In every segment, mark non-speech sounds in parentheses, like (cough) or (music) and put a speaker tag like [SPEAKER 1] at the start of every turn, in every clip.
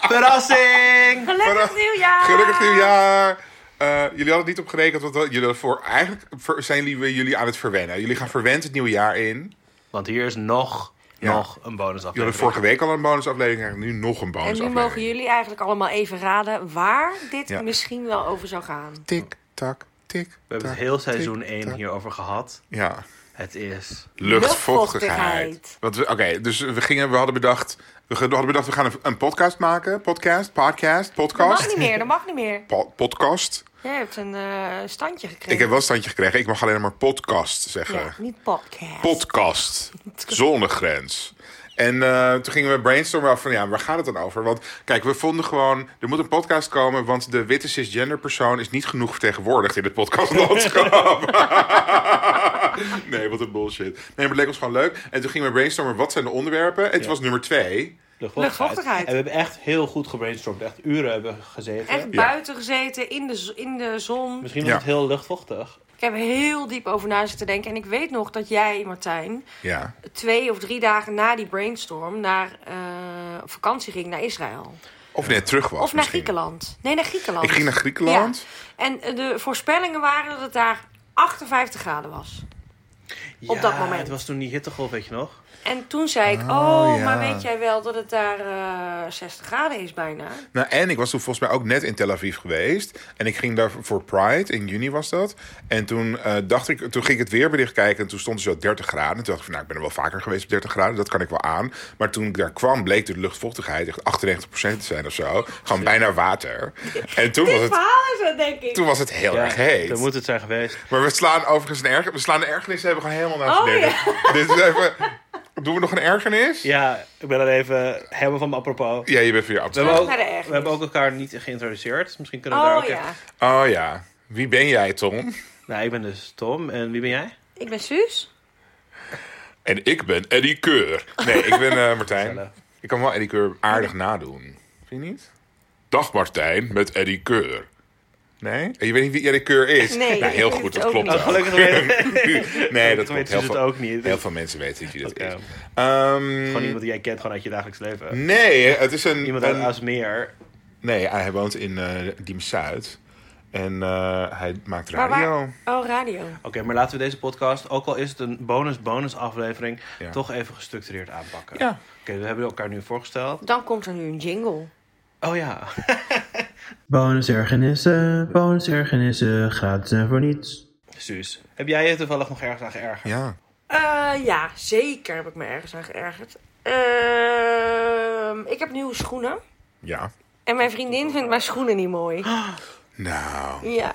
[SPEAKER 1] Verrassing!
[SPEAKER 2] Gelukkig
[SPEAKER 3] Vanaf-
[SPEAKER 2] nieuwjaar!
[SPEAKER 3] Gelukkig nieuwjaar! Eh, jullie hadden het niet op gerekend, want we- jullie voor, eigenlijk ver- zijn jullie- we jullie aan het verwennen. Jullie gaan verwend het nieuwe jaar in. Jullie
[SPEAKER 1] Want hier is nog,
[SPEAKER 3] Ja.
[SPEAKER 1] nog een bonusaflevering.
[SPEAKER 3] hadden vorige week al een bonusaflevering, eigenlijk nu nog een
[SPEAKER 2] En nu
[SPEAKER 3] bonusaflevering.
[SPEAKER 2] mogen jullie eigenlijk allemaal even raden waar dit
[SPEAKER 3] Ja.
[SPEAKER 2] misschien wel over zou gaan.
[SPEAKER 3] Tik, tak, tik.
[SPEAKER 1] We hebben het heel seizoen 1 hierover gehad.
[SPEAKER 3] Ja.
[SPEAKER 1] Het is...
[SPEAKER 3] Luchtvochtigheid.
[SPEAKER 2] Luchtvochtigheid.
[SPEAKER 3] Want we- Oké, dus we, gingen, we hadden bedacht. We ge- hadden bedacht, we gaan een, een podcast maken. Podcast, podcast,
[SPEAKER 2] Dat mag
[SPEAKER 3] podcast.
[SPEAKER 2] niet meer, dat mag niet meer.
[SPEAKER 3] Po- podcast.
[SPEAKER 2] Jij hebt een eh, standje gekregen.
[SPEAKER 3] Ik heb wel een standje gekregen. Ik mag alleen maar podcast zeggen.
[SPEAKER 2] Ja, niet podcast.
[SPEAKER 3] podcast. Zonnegrens. En eh, toen gingen we brainstormen af van ja, waar gaat het dan over? Want kijk, we vonden gewoon, er moet een podcast komen, want de witte cisgender persoon is niet genoeg vertegenwoordigd in het podcastlandschap. (laughs) nee, wat een bullshit. Nee, maar het leek ons gewoon leuk. En toen gingen we brainstormen, wat zijn de onderwerpen? En toen was nummer twee.
[SPEAKER 2] Luchtvochtigheid.
[SPEAKER 1] En we hebben echt heel goed gebrainstormd. Echt uren hebben we gezeten.
[SPEAKER 2] Echt buiten gezeten, in de, z- in de zon.
[SPEAKER 1] Misschien was
[SPEAKER 3] Ja.
[SPEAKER 1] het heel luchtvochtig.
[SPEAKER 2] Ik heb er heel diep over na zitten denken. En ik weet nog dat jij, Martijn,
[SPEAKER 3] Ja.
[SPEAKER 2] twee of drie dagen na die brainstorm naar eh, op vakantie ging naar Israël.
[SPEAKER 3] Of net terug was
[SPEAKER 2] Of naar
[SPEAKER 3] misschien.
[SPEAKER 2] Griekenland. Nee, naar Griekenland.
[SPEAKER 3] Ik ging naar Griekenland.
[SPEAKER 2] Ja. En eh, de voorspellingen waren dat het daar 58 graden was. Op dat moment.
[SPEAKER 1] het was toen die hittegolf, weet je nog?
[SPEAKER 2] En toen zei ik, oh,
[SPEAKER 3] ja.
[SPEAKER 2] maar weet jij wel dat het daar eh 60 graden is bijna?
[SPEAKER 3] Nou, en ik was toen volgens mij ook net in Tel Aviv geweest. En ik ging daar voor Pride, in juni was dat. En toen, eh, dacht ik, toen ging ik het weerbericht kijken en toen stond er zo 30 graden. En toen dacht ik van, nou, ik ben er wel vaker geweest op 30 graden, dat kan ik wel aan. Maar toen ik daar kwam, bleek de luchtvochtigheid echt 98% te zijn of zo. Gewoon bijna water. En toen was
[SPEAKER 2] Dit
[SPEAKER 3] het,
[SPEAKER 2] verhaal is het, denk ik.
[SPEAKER 3] toen was het heel erg
[SPEAKER 1] dat
[SPEAKER 3] heet.
[SPEAKER 1] moet het zijn geweest.
[SPEAKER 3] Maar we slaan overigens een ergernis. We slaan de ergernis hebben we gewoon helemaal naar
[SPEAKER 2] Oh,
[SPEAKER 3] beneden. (laughs) Dit is even... Doen we nog een ergernis? Ja,
[SPEAKER 1] Ja, ik ben er even helemaal van me apropos. We
[SPEAKER 3] je bent weer absoluut.
[SPEAKER 1] hebben, ook,
[SPEAKER 2] naar de ergernis.
[SPEAKER 1] we hebben ook elkaar niet geïntroduceerd. Misschien kunnen we daar
[SPEAKER 2] Oh
[SPEAKER 1] ook
[SPEAKER 2] ja.
[SPEAKER 1] even...
[SPEAKER 3] Oh ja. Wie ben jij, Tom?
[SPEAKER 1] Nou, ik ben dus Tom. En wie ben jij?
[SPEAKER 2] Ik ben Suus.
[SPEAKER 3] En ik ben Eddie Keur. Nee, ik ben eh, Martijn.
[SPEAKER 1] Gezellig.
[SPEAKER 3] (laughs) Ik kan wel Eddie Keur aardig nadoen. Vind je niet? Dag Martijn met Eddie Keur. Nee? En je weet niet wie Eddie Keur is?
[SPEAKER 2] Nee,
[SPEAKER 3] Nou,
[SPEAKER 2] ik
[SPEAKER 3] heel
[SPEAKER 2] weet
[SPEAKER 3] goed,
[SPEAKER 2] het
[SPEAKER 3] dat
[SPEAKER 2] ook
[SPEAKER 3] klopt
[SPEAKER 2] niet.
[SPEAKER 1] Oh,
[SPEAKER 3] ook.
[SPEAKER 1] (laughs)
[SPEAKER 3] (laughs)
[SPEAKER 1] gelukkig weten
[SPEAKER 3] Nee, dat
[SPEAKER 1] weten
[SPEAKER 3] klopt.
[SPEAKER 1] ze
[SPEAKER 3] Heel
[SPEAKER 1] het
[SPEAKER 3] veel,
[SPEAKER 1] ook niet.
[SPEAKER 3] heel veel mensen weten niet wie dat
[SPEAKER 1] Oké.
[SPEAKER 3] is. Ehm,
[SPEAKER 1] Gewoon iemand die jij kent gewoon uit je dagelijks leven.
[SPEAKER 3] nee, het is een...
[SPEAKER 1] Iemand
[SPEAKER 3] een-
[SPEAKER 1] uit Asmeer.
[SPEAKER 3] nee, hij woont in eh Diem-Zuid. En eh, hij maakt
[SPEAKER 2] Maar waar-
[SPEAKER 3] radio.
[SPEAKER 2] Oh, radio.
[SPEAKER 1] Oké, maar laten we deze podcast, ook al is het een bonus-bonus aflevering,
[SPEAKER 3] Ja.
[SPEAKER 1] toch even gestructureerd aanpakken.
[SPEAKER 3] Ja.
[SPEAKER 1] Oké, we hebben elkaar nu voorgesteld.
[SPEAKER 2] Dan komt er nu een jingle.
[SPEAKER 1] Oh ja. (laughs) bonusergenissen, bonusergenissen, gratis en voor niets. Suus, heb jij je toevallig nog ergens aan geërgerd?
[SPEAKER 3] Ja.
[SPEAKER 2] Eh, ja, zeker heb ik me ergens aan geërgerd. Ehm, ik heb nieuwe schoenen.
[SPEAKER 3] Ja.
[SPEAKER 2] En mijn vriendin vindt mijn schoenen niet mooi.
[SPEAKER 3] Nou.
[SPEAKER 2] Ja.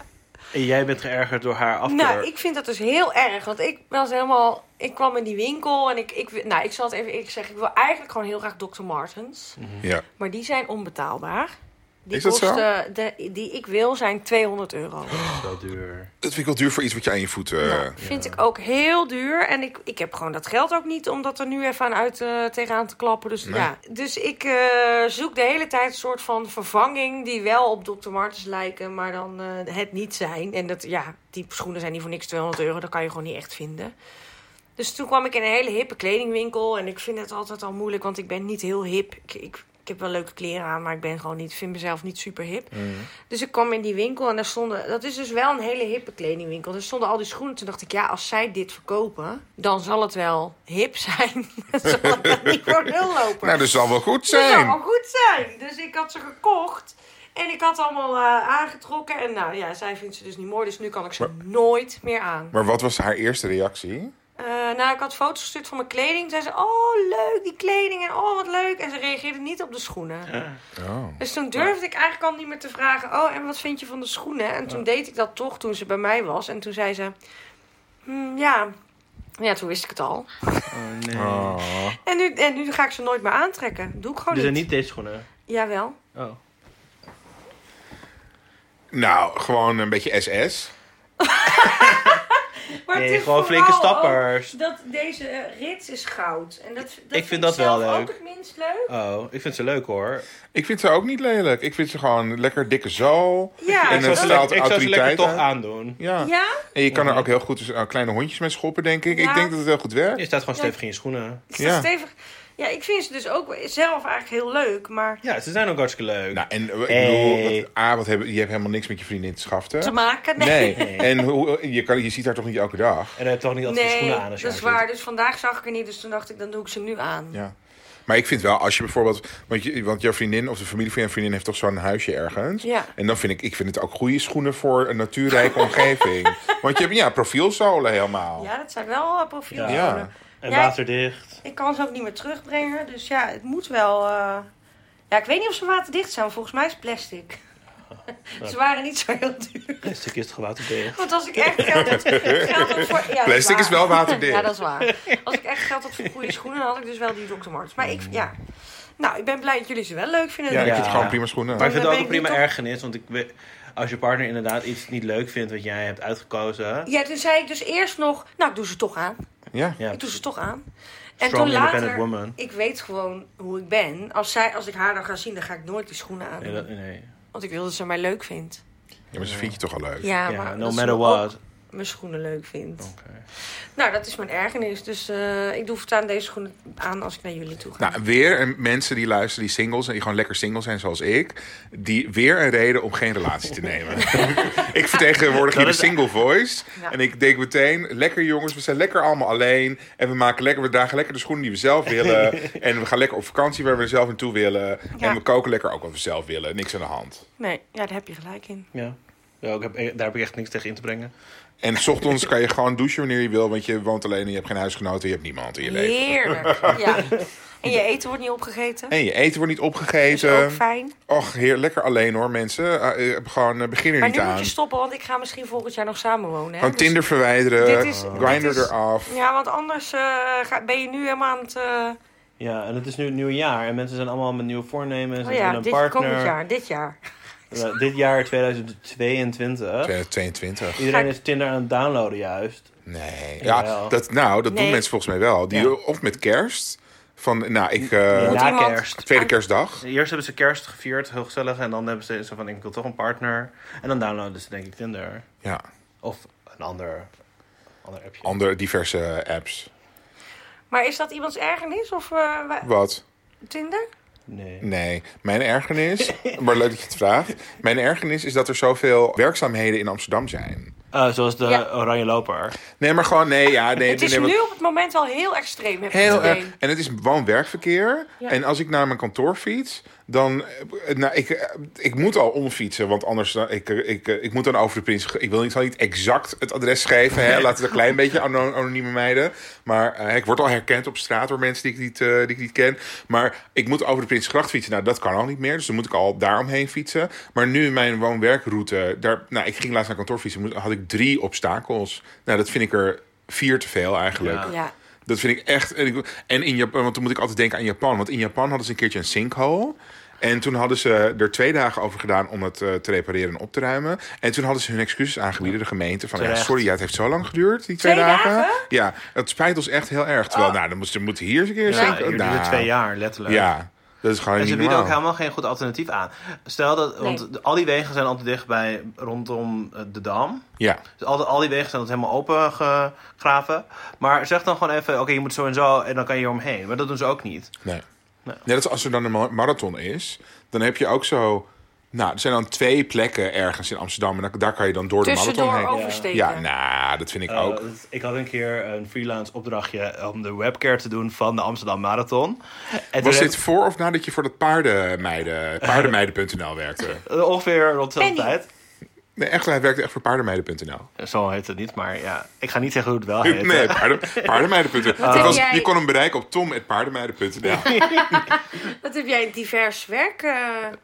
[SPEAKER 1] En jij bent geërgerd door haar afkeur.
[SPEAKER 2] Nou, ik vind dat dus heel erg. Want ik was helemaal. Ik kwam in die winkel en ik. ik nou, ik zal het even eerlijk zeggen. Ik wil eigenlijk gewoon heel graag Dr. Martens.
[SPEAKER 3] Ja.
[SPEAKER 2] Maar die zijn onbetaalbaar. Die
[SPEAKER 3] Mhm. Is dat zo? Eh,
[SPEAKER 2] kosten. De, die ik wil zijn 200 euro.
[SPEAKER 1] Dat is wel duur.
[SPEAKER 3] Dat vind ik wel duur voor iets wat je aan je voeten...
[SPEAKER 2] Nou, vind ik ook heel duur. En ik, ik heb gewoon dat geld ook niet om dat er nu even aan uit eh, tegenaan te klappen. Dus, ja. dus ik eh, zoek de hele tijd een soort van vervanging die wel op Dr. Martens lijken, maar dan eh, het niet zijn. En dat, ja, die schoenen zijn niet voor niks 200 euro. Dat kan je gewoon niet echt vinden. Dus toen kwam ik in een hele hippe kledingwinkel. En ik vind het altijd al moeilijk, want ik ben niet heel hip. Ik, ik, ik heb wel leuke kleren aan, maar ik ben gewoon niet, vind mezelf niet super hip.
[SPEAKER 3] Mm.
[SPEAKER 2] Dus ik kwam in die winkel en daar stonden... Dat is dus wel een hele hippe kledingwinkel. Er stonden al die schoenen. Toen dacht ik, ja, als zij dit verkopen... dan zal het wel hip zijn. (laughs) Dan zal het wel niet voor nul lopen.
[SPEAKER 3] Nou, dat zal wel
[SPEAKER 2] Dat
[SPEAKER 3] goed
[SPEAKER 2] zou
[SPEAKER 3] zijn.
[SPEAKER 2] wel goed zijn. Dus ik had ze gekocht. En ik had allemaal eh, aangetrokken. En nou ja, zij vindt ze dus niet mooi. Dus nu kan ik ze nooit meer aan.
[SPEAKER 3] Maar wat was haar eerste reactie?
[SPEAKER 2] Eh, nou, ik had foto's gestuurd van mijn kleding. Zei ze, oh leuk, die kleding. En oh, wat leuk. En ze reageerde niet op de schoenen.
[SPEAKER 3] Oh.
[SPEAKER 2] Dus toen durfde ik eigenlijk al niet meer te vragen: Oh, en wat vind je van de schoenen? En toen deed ik dat toch toen ze bij mij was. En toen zei ze: "Hmm, Ja. Ja, toen wist ik het al.
[SPEAKER 1] Oh nee.
[SPEAKER 3] Oh.
[SPEAKER 2] En nu, en nu ga ik ze nooit meer aantrekken. Doe ik gewoon
[SPEAKER 1] Oh, Dit zijn
[SPEAKER 2] niet.
[SPEAKER 1] Dus niet deze schoenen.
[SPEAKER 2] Jawel.
[SPEAKER 1] Oh.
[SPEAKER 3] Nou, gewoon een beetje SS.
[SPEAKER 2] Maar
[SPEAKER 1] Nee,
[SPEAKER 2] het is
[SPEAKER 1] gewoon flinke
[SPEAKER 2] vooral
[SPEAKER 1] stappers.
[SPEAKER 2] ook Dat deze eh, rits is goud. En dat, dat
[SPEAKER 1] vind dat wel
[SPEAKER 2] zelf
[SPEAKER 1] leuk.
[SPEAKER 2] ook het minst leuk.
[SPEAKER 1] Oh, ik vind ze leuk hoor.
[SPEAKER 3] Ik vind ze ook niet lelijk. Ik vind ze gewoon lekker dikke zool.
[SPEAKER 2] Ja,
[SPEAKER 3] En
[SPEAKER 1] ik zou
[SPEAKER 3] dan
[SPEAKER 1] ze,
[SPEAKER 3] straalt
[SPEAKER 1] lekker- ik zou ze lekker
[SPEAKER 3] autoriteit
[SPEAKER 1] toch
[SPEAKER 3] uit.
[SPEAKER 1] aandoen.
[SPEAKER 3] Ja.
[SPEAKER 2] ja?
[SPEAKER 3] En je kan er ook heel goed dus, eh, kleine hondjes mee schoppen, denk ik.
[SPEAKER 2] Ja.
[SPEAKER 3] Ik denk dat het heel goed werkt.
[SPEAKER 1] Je staat gewoon stevig in je schoenen.
[SPEAKER 2] Is
[SPEAKER 3] Ja.
[SPEAKER 2] dat stevig? Ja, ik vind ze dus ook zelf eigenlijk heel leuk, maar
[SPEAKER 1] Ja, ze zijn ook hartstikke leuk.
[SPEAKER 3] Nou, en eh, ik
[SPEAKER 1] Hey.
[SPEAKER 3] bedoel, wat- A, wat hebben, je hebt helemaal niks met je vriendin te schaften.
[SPEAKER 2] te maken, nee. (laughs)
[SPEAKER 3] Nee, en hoe, je, kan, je ziet haar toch niet elke dag?
[SPEAKER 1] En hij heeft toch niet altijd je
[SPEAKER 2] Nee,
[SPEAKER 1] schoenen aan
[SPEAKER 2] dat
[SPEAKER 1] als je
[SPEAKER 2] is
[SPEAKER 1] haar
[SPEAKER 2] waar. Dus vandaag zag ik er niet, dus toen dacht ik, dan doe ik ze nu aan.
[SPEAKER 3] Ja. Maar ik vind wel, als je bijvoorbeeld... Want, je, want jouw vriendin of de familie van jouw vriendin heeft toch zo'n huisje ergens?
[SPEAKER 2] Ja.
[SPEAKER 3] En dan vind ik, ik vind het ook goede schoenen voor een natuurrijke omgeving. Want je hebt, ja, profielzolen helemaal.
[SPEAKER 2] Ja, dat zijn wel eh, profielen.
[SPEAKER 1] Ja.
[SPEAKER 3] Ja.
[SPEAKER 1] ziet. En
[SPEAKER 2] Ja,
[SPEAKER 1] waterdicht.
[SPEAKER 2] Ik kan ze ook niet meer terugbrengen, dus ja, het moet wel... eh, Ja, ik weet niet of ze waterdicht zijn, want volgens mij is het plastic. ze waren niet zo heel duur.
[SPEAKER 1] Plastic is toch waterdicht?
[SPEAKER 2] Want als ik echt geld had, geld had voor... ja, dat
[SPEAKER 3] Plastic is
[SPEAKER 2] waar.
[SPEAKER 3] wel waterdicht.
[SPEAKER 2] Ja, dat is waar. Als ik echt geld had voor goede schoenen, dan had ik dus wel die Dr. Martens. Maar ik, ja... Nou, ik ben blij dat jullie ze wel leuk vinden.
[SPEAKER 3] Ja, ik
[SPEAKER 1] Ja.
[SPEAKER 3] vind het gewoon prima schoenen.
[SPEAKER 1] Maar ik vind
[SPEAKER 2] dan
[SPEAKER 1] het ook
[SPEAKER 2] ben
[SPEAKER 1] een
[SPEAKER 2] ik niet
[SPEAKER 1] prima
[SPEAKER 2] op-
[SPEAKER 1] ergernis, want ik weet- als je partner inderdaad iets niet leuk vindt wat jij hebt uitgekozen...
[SPEAKER 2] Ja, toen zei ik dus eerst nog... Nou, ik doe ze toch aan.
[SPEAKER 3] ja.
[SPEAKER 1] Ja,
[SPEAKER 2] Ik doe ze toch aan. En
[SPEAKER 1] strong
[SPEAKER 2] toen later...
[SPEAKER 1] independent woman.
[SPEAKER 2] Ik weet gewoon hoe ik ben. Als, zij, als ik haar dan ga zien, dan ga ik nooit die schoenen aan.
[SPEAKER 1] Nee, dat, nee.
[SPEAKER 2] Want ik wil dat ze mij leuk vindt.
[SPEAKER 3] Ja, maar ze vind je toch al leuk?
[SPEAKER 2] Ja,
[SPEAKER 1] Ja,
[SPEAKER 2] maar
[SPEAKER 1] no
[SPEAKER 2] dat ze
[SPEAKER 1] matter
[SPEAKER 2] me ook
[SPEAKER 1] what. Oh.
[SPEAKER 2] mijn schoenen leuk vindt.
[SPEAKER 1] Oké.
[SPEAKER 2] Nou, dat is mijn ergernis. Dus eh, ik doe voortaan deze schoenen aan als ik naar jullie toe ga.
[SPEAKER 3] Nou, weer een, mensen die luisteren, die singles en die gewoon lekker single zijn zoals ik, die weer een reden om geen relatie te nemen. (laughs) ik vertegenwoordig hier de single voice
[SPEAKER 2] Ja.
[SPEAKER 3] en ik denk meteen, lekker jongens, we zijn lekker allemaal alleen en we maken lekker, we dragen lekker de schoenen die we zelf willen en we gaan lekker op vakantie waar we zelf naartoe willen
[SPEAKER 2] Ja.
[SPEAKER 3] en we koken lekker ook wat we zelf willen, niks aan de hand.
[SPEAKER 2] Nee, ja, daar heb je gelijk in.
[SPEAKER 1] Ja. Ja, ik heb, e- daar heb ik echt niks tegen in te brengen.
[SPEAKER 3] En 's ochtends kan je gewoon douchen wanneer je wil, want je woont alleen en je hebt geen huisgenoten, je hebt niemand in je leven.
[SPEAKER 2] Heerlijk.
[SPEAKER 3] (laughs)
[SPEAKER 2] Ja. En je eten wordt niet opgegeten.
[SPEAKER 3] En je eten wordt niet
[SPEAKER 2] Dat is ook
[SPEAKER 3] opgegeten.
[SPEAKER 2] fijn.
[SPEAKER 3] Och, heer, lekker alleen hoor, mensen. Eh, eh, gewoon eh, begin er
[SPEAKER 2] Maar
[SPEAKER 3] niet
[SPEAKER 2] nu
[SPEAKER 3] aan.
[SPEAKER 2] moet je stoppen, want ik ga misschien volgend jaar nog samenwonen. Hè?
[SPEAKER 3] Gewoon
[SPEAKER 2] Dus-
[SPEAKER 3] Tinder verwijderen,
[SPEAKER 2] dit is- dit
[SPEAKER 3] Grindr
[SPEAKER 2] is-
[SPEAKER 3] eraf.
[SPEAKER 2] Ja, want anders eh, ga- ben je nu helemaal aan het... eh,
[SPEAKER 1] Ja, en het is nu het nieuwe jaar en mensen zijn allemaal met nieuwe voornemens.
[SPEAKER 2] oh
[SPEAKER 1] ze
[SPEAKER 2] ja,
[SPEAKER 1] willen een
[SPEAKER 2] dit,
[SPEAKER 1] partner.
[SPEAKER 2] komend jaar, dit jaar.
[SPEAKER 1] Ja, dit jaar 2022.
[SPEAKER 3] 22.
[SPEAKER 1] Iedereen is Tinder aan het downloaden juist.
[SPEAKER 3] Nee. Ja,
[SPEAKER 1] Jawel.
[SPEAKER 3] dat, nou, dat doen
[SPEAKER 2] Nee.
[SPEAKER 3] mensen volgens mij wel. Die,
[SPEAKER 1] Ja. Of
[SPEAKER 3] Of met kerst. Van, nou, ik... eh,
[SPEAKER 1] Ja,
[SPEAKER 2] Want iemand-
[SPEAKER 1] kerst.
[SPEAKER 3] Tweede kerstdag.
[SPEAKER 1] Eerst hebben ze kerst gevierd, heel gezellig. En dan hebben ze zo van, ik wil toch een partner. En dan downloaden ze denk ik Tinder.
[SPEAKER 3] Ja.
[SPEAKER 1] Of een ander, ander appje.
[SPEAKER 3] Andere diverse apps.
[SPEAKER 2] Maar is dat iemands ergernis of eh, wa-
[SPEAKER 3] Wat?
[SPEAKER 2] Tinder?
[SPEAKER 1] Nee.
[SPEAKER 3] Nee. Mijn
[SPEAKER 2] (laughs)
[SPEAKER 3] ergernis... maar leuk dat je het vraagt. Mijn ergernis is dat er zoveel werkzaamheden in Amsterdam zijn.
[SPEAKER 1] Eh, zoals de
[SPEAKER 2] Ja.
[SPEAKER 1] oranje loper.
[SPEAKER 3] Nee, maar gewoon... Nee, ja, nee.
[SPEAKER 2] Het is
[SPEAKER 3] nee, maar-
[SPEAKER 2] nu op het moment wel heel extreem, heb ik het
[SPEAKER 3] Heel
[SPEAKER 2] idee.
[SPEAKER 3] erg. En het is woon-werkverkeer.
[SPEAKER 2] Ja.
[SPEAKER 3] En als ik naar mijn kantoor fiets, dan... eh, Nou, ik, eh, ik moet al omfietsen, want anders... dan- Ik, eh, ik, eh, ik moet dan over de prins... Ik wil niet, zal niet exact het adres geven. Hè? Laten we een klein beetje ano- anonieme meiden. Maar eh, ik word al herkend op straat door mensen die ik, niet, eh, die ik niet ken. Maar ik moet over de Prinsengracht fietsen. Nou, dat kan al niet meer. Dus dan moet ik al daaromheen fietsen. Maar nu mijn woon-werkroute... Daar, nou, ik ging laatst naar kantoor fietsen. moest- Had ik drie obstakels. Nou, dat vind ik er vier te veel eigenlijk.
[SPEAKER 1] Ja.
[SPEAKER 2] Ja.
[SPEAKER 3] Dat vind ik echt. En, ik- en in Japan, want dan moet ik altijd denken aan Japan. Want in Japan hadden ze een keertje een sinkhole. En toen hadden ze er twee dagen over gedaan om het eh, te repareren en op te ruimen. En toen hadden ze hun excuses aangebieden, de gemeente. Van ja,
[SPEAKER 1] Terecht.
[SPEAKER 3] sorry, ja, het heeft zo lang geduurd, die twee,
[SPEAKER 2] Twee
[SPEAKER 3] dagen.
[SPEAKER 2] dagen? Oh.
[SPEAKER 3] Ja, dat spijt ons echt heel erg. Terwijl, nou, dan moest- dan moet hier eens een keer een
[SPEAKER 1] Ja,
[SPEAKER 3] sinkhole.
[SPEAKER 1] jullie
[SPEAKER 3] Nou,
[SPEAKER 1] duurde twee jaar, letterlijk.
[SPEAKER 3] Ja, dat is gewoon
[SPEAKER 1] En
[SPEAKER 3] niet
[SPEAKER 1] ze bieden ook
[SPEAKER 3] normaal.
[SPEAKER 1] helemaal geen goed alternatief aan. Stel dat, want de- al die wegen zijn altijd dicht bij, rondom eh, de Dam.
[SPEAKER 3] Ja,
[SPEAKER 1] Dus al, de- al die wegen zijn altijd helemaal open gegraven. Maar zeg dan gewoon even, oké, je moet zo en zo en dan kan je omheen. Maar dat doen ze ook niet.
[SPEAKER 3] nee. nee. dat is als er dan een ma- marathon is, dan heb je ook zo. Nou, er zijn dan twee plekken ergens in Amsterdam. En dan- daar kan je dan door de marathon
[SPEAKER 2] Tussendoor
[SPEAKER 3] heen.
[SPEAKER 2] oversteken.
[SPEAKER 3] Ja, nou, dat vind ik
[SPEAKER 1] Eh,
[SPEAKER 3] ook.
[SPEAKER 1] dat- ik had een keer een freelance opdrachtje om de webcare te doen van de Amsterdam Marathon. En
[SPEAKER 3] Was
[SPEAKER 1] toen
[SPEAKER 3] dit voor of nadat je voor dat
[SPEAKER 1] (laughs)
[SPEAKER 3] paardenmeiden, paardenmeiden.nl werkte?
[SPEAKER 1] heb- eh, ongeveer rond dezelfde
[SPEAKER 2] Penny.
[SPEAKER 1] tijd.
[SPEAKER 3] Nee, echt, hij werkte echt voor paardenmeiden.nl.
[SPEAKER 1] Eh, Zo heet het niet, maar ja, ik ga niet zeggen hoe het wel heet.
[SPEAKER 3] Nee, paarden, paardenmeiden.nl.
[SPEAKER 1] Oh.
[SPEAKER 3] Het
[SPEAKER 2] heb
[SPEAKER 3] was-
[SPEAKER 2] jij-
[SPEAKER 3] Je kon hem bereiken op (laughs) tom.paardenmeiden.nl.
[SPEAKER 2] Wat heb jij een divers werk? eh,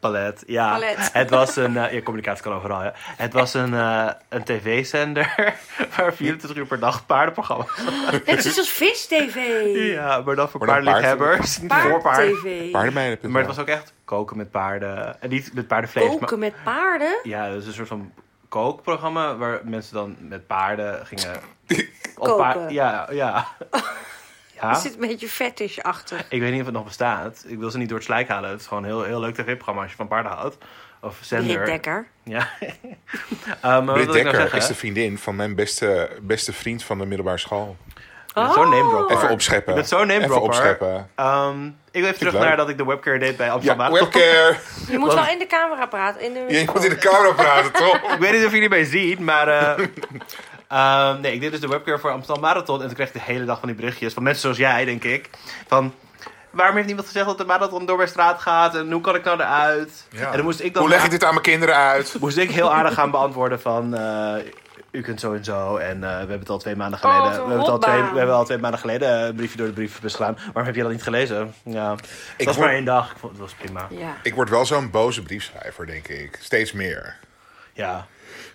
[SPEAKER 3] (laughs)
[SPEAKER 1] Palet, ja.
[SPEAKER 2] Palet.
[SPEAKER 1] (laughs) Het was een, eh, ja, communicatie kan overal, ja. Het was een, eh, een tv-zender (laughs) waar 24 uur per dag paardenprogramma.
[SPEAKER 3] (laughs)
[SPEAKER 2] Net zoals als Vis TV.
[SPEAKER 1] Ja, maar dan voor
[SPEAKER 3] Maar dan
[SPEAKER 1] paardenliefhebbers. Niet voor
[SPEAKER 2] Paard
[SPEAKER 1] paarden.
[SPEAKER 2] TV.
[SPEAKER 3] Paardenmeiden.nl.
[SPEAKER 1] Maar het was ook echt koken met paarden. En niet met paardenvlees. maar-
[SPEAKER 2] Koken met paarden?
[SPEAKER 1] Ja, dat is een soort van kookprogramma waar mensen dan met paarden
[SPEAKER 2] (laughs)
[SPEAKER 1] gingen.
[SPEAKER 2] Koken.
[SPEAKER 1] ja, ja.
[SPEAKER 2] (laughs) Er
[SPEAKER 1] ja.
[SPEAKER 2] zit een beetje fetish achter.
[SPEAKER 1] Ik weet niet of het nog bestaat. Ik wil ze niet door het slijk halen. Het is gewoon een heel, heel leuk tv-programma als je van paarden houdt. Of zender.
[SPEAKER 2] Rick Dekker.
[SPEAKER 1] Ja. (laughs) Eh, maar wat
[SPEAKER 3] Britt
[SPEAKER 1] wil ik nou
[SPEAKER 3] Dekker
[SPEAKER 1] zeggen?
[SPEAKER 3] is de vriendin van mijn beste, beste vriend van de middelbare school.
[SPEAKER 1] bent Zo'n name dropper.
[SPEAKER 3] Even opscheppen.
[SPEAKER 1] Je bent zo'n name
[SPEAKER 3] Even
[SPEAKER 1] dropper.
[SPEAKER 3] opscheppen.
[SPEAKER 1] Ehm, ik wil even terug
[SPEAKER 3] leuk.
[SPEAKER 1] naar dat ik de webcare deed bij Amsterdam.
[SPEAKER 3] Ja,
[SPEAKER 1] Marathon.
[SPEAKER 3] webcare.
[SPEAKER 2] Je moet wel in de camera praten. In de
[SPEAKER 3] (laughs) Je
[SPEAKER 2] microfoon.
[SPEAKER 3] moet in de camera praten, toch?
[SPEAKER 1] Ik weet niet of jullie mij zien, maar...
[SPEAKER 3] (laughs)
[SPEAKER 1] eh, ehm, nee, ik deed dus de webcare voor Amsterdam Marathon. En toen kreeg ik de hele dag van die berichtjes van mensen zoals jij, denk ik. Van, waarom heeft niemand gezegd dat de marathon door mijn straat gaat? En hoe kan ik nou eruit? En dan moest ik dan...
[SPEAKER 3] Hoe leg ik dit aan mijn kinderen uit?
[SPEAKER 1] moest ik heel aardig gaan beantwoorden van... eh, u kunt zo en zo. En eh, we hebben het al twee maanden
[SPEAKER 2] Oh,
[SPEAKER 1] geleden...
[SPEAKER 2] zo'n
[SPEAKER 1] we, hebben het al
[SPEAKER 2] rotbaan.
[SPEAKER 1] twee, we hebben al twee maanden geleden eh, een briefje door de brievenbus gedaan. Waarom heb je dat niet gelezen? Ja, het was
[SPEAKER 3] hoor-
[SPEAKER 1] maar één dag. Ik vond, het was prima.
[SPEAKER 2] Ja.
[SPEAKER 3] Ik word wel zo'n boze briefschrijver, denk ik. Steeds meer.
[SPEAKER 1] Ja.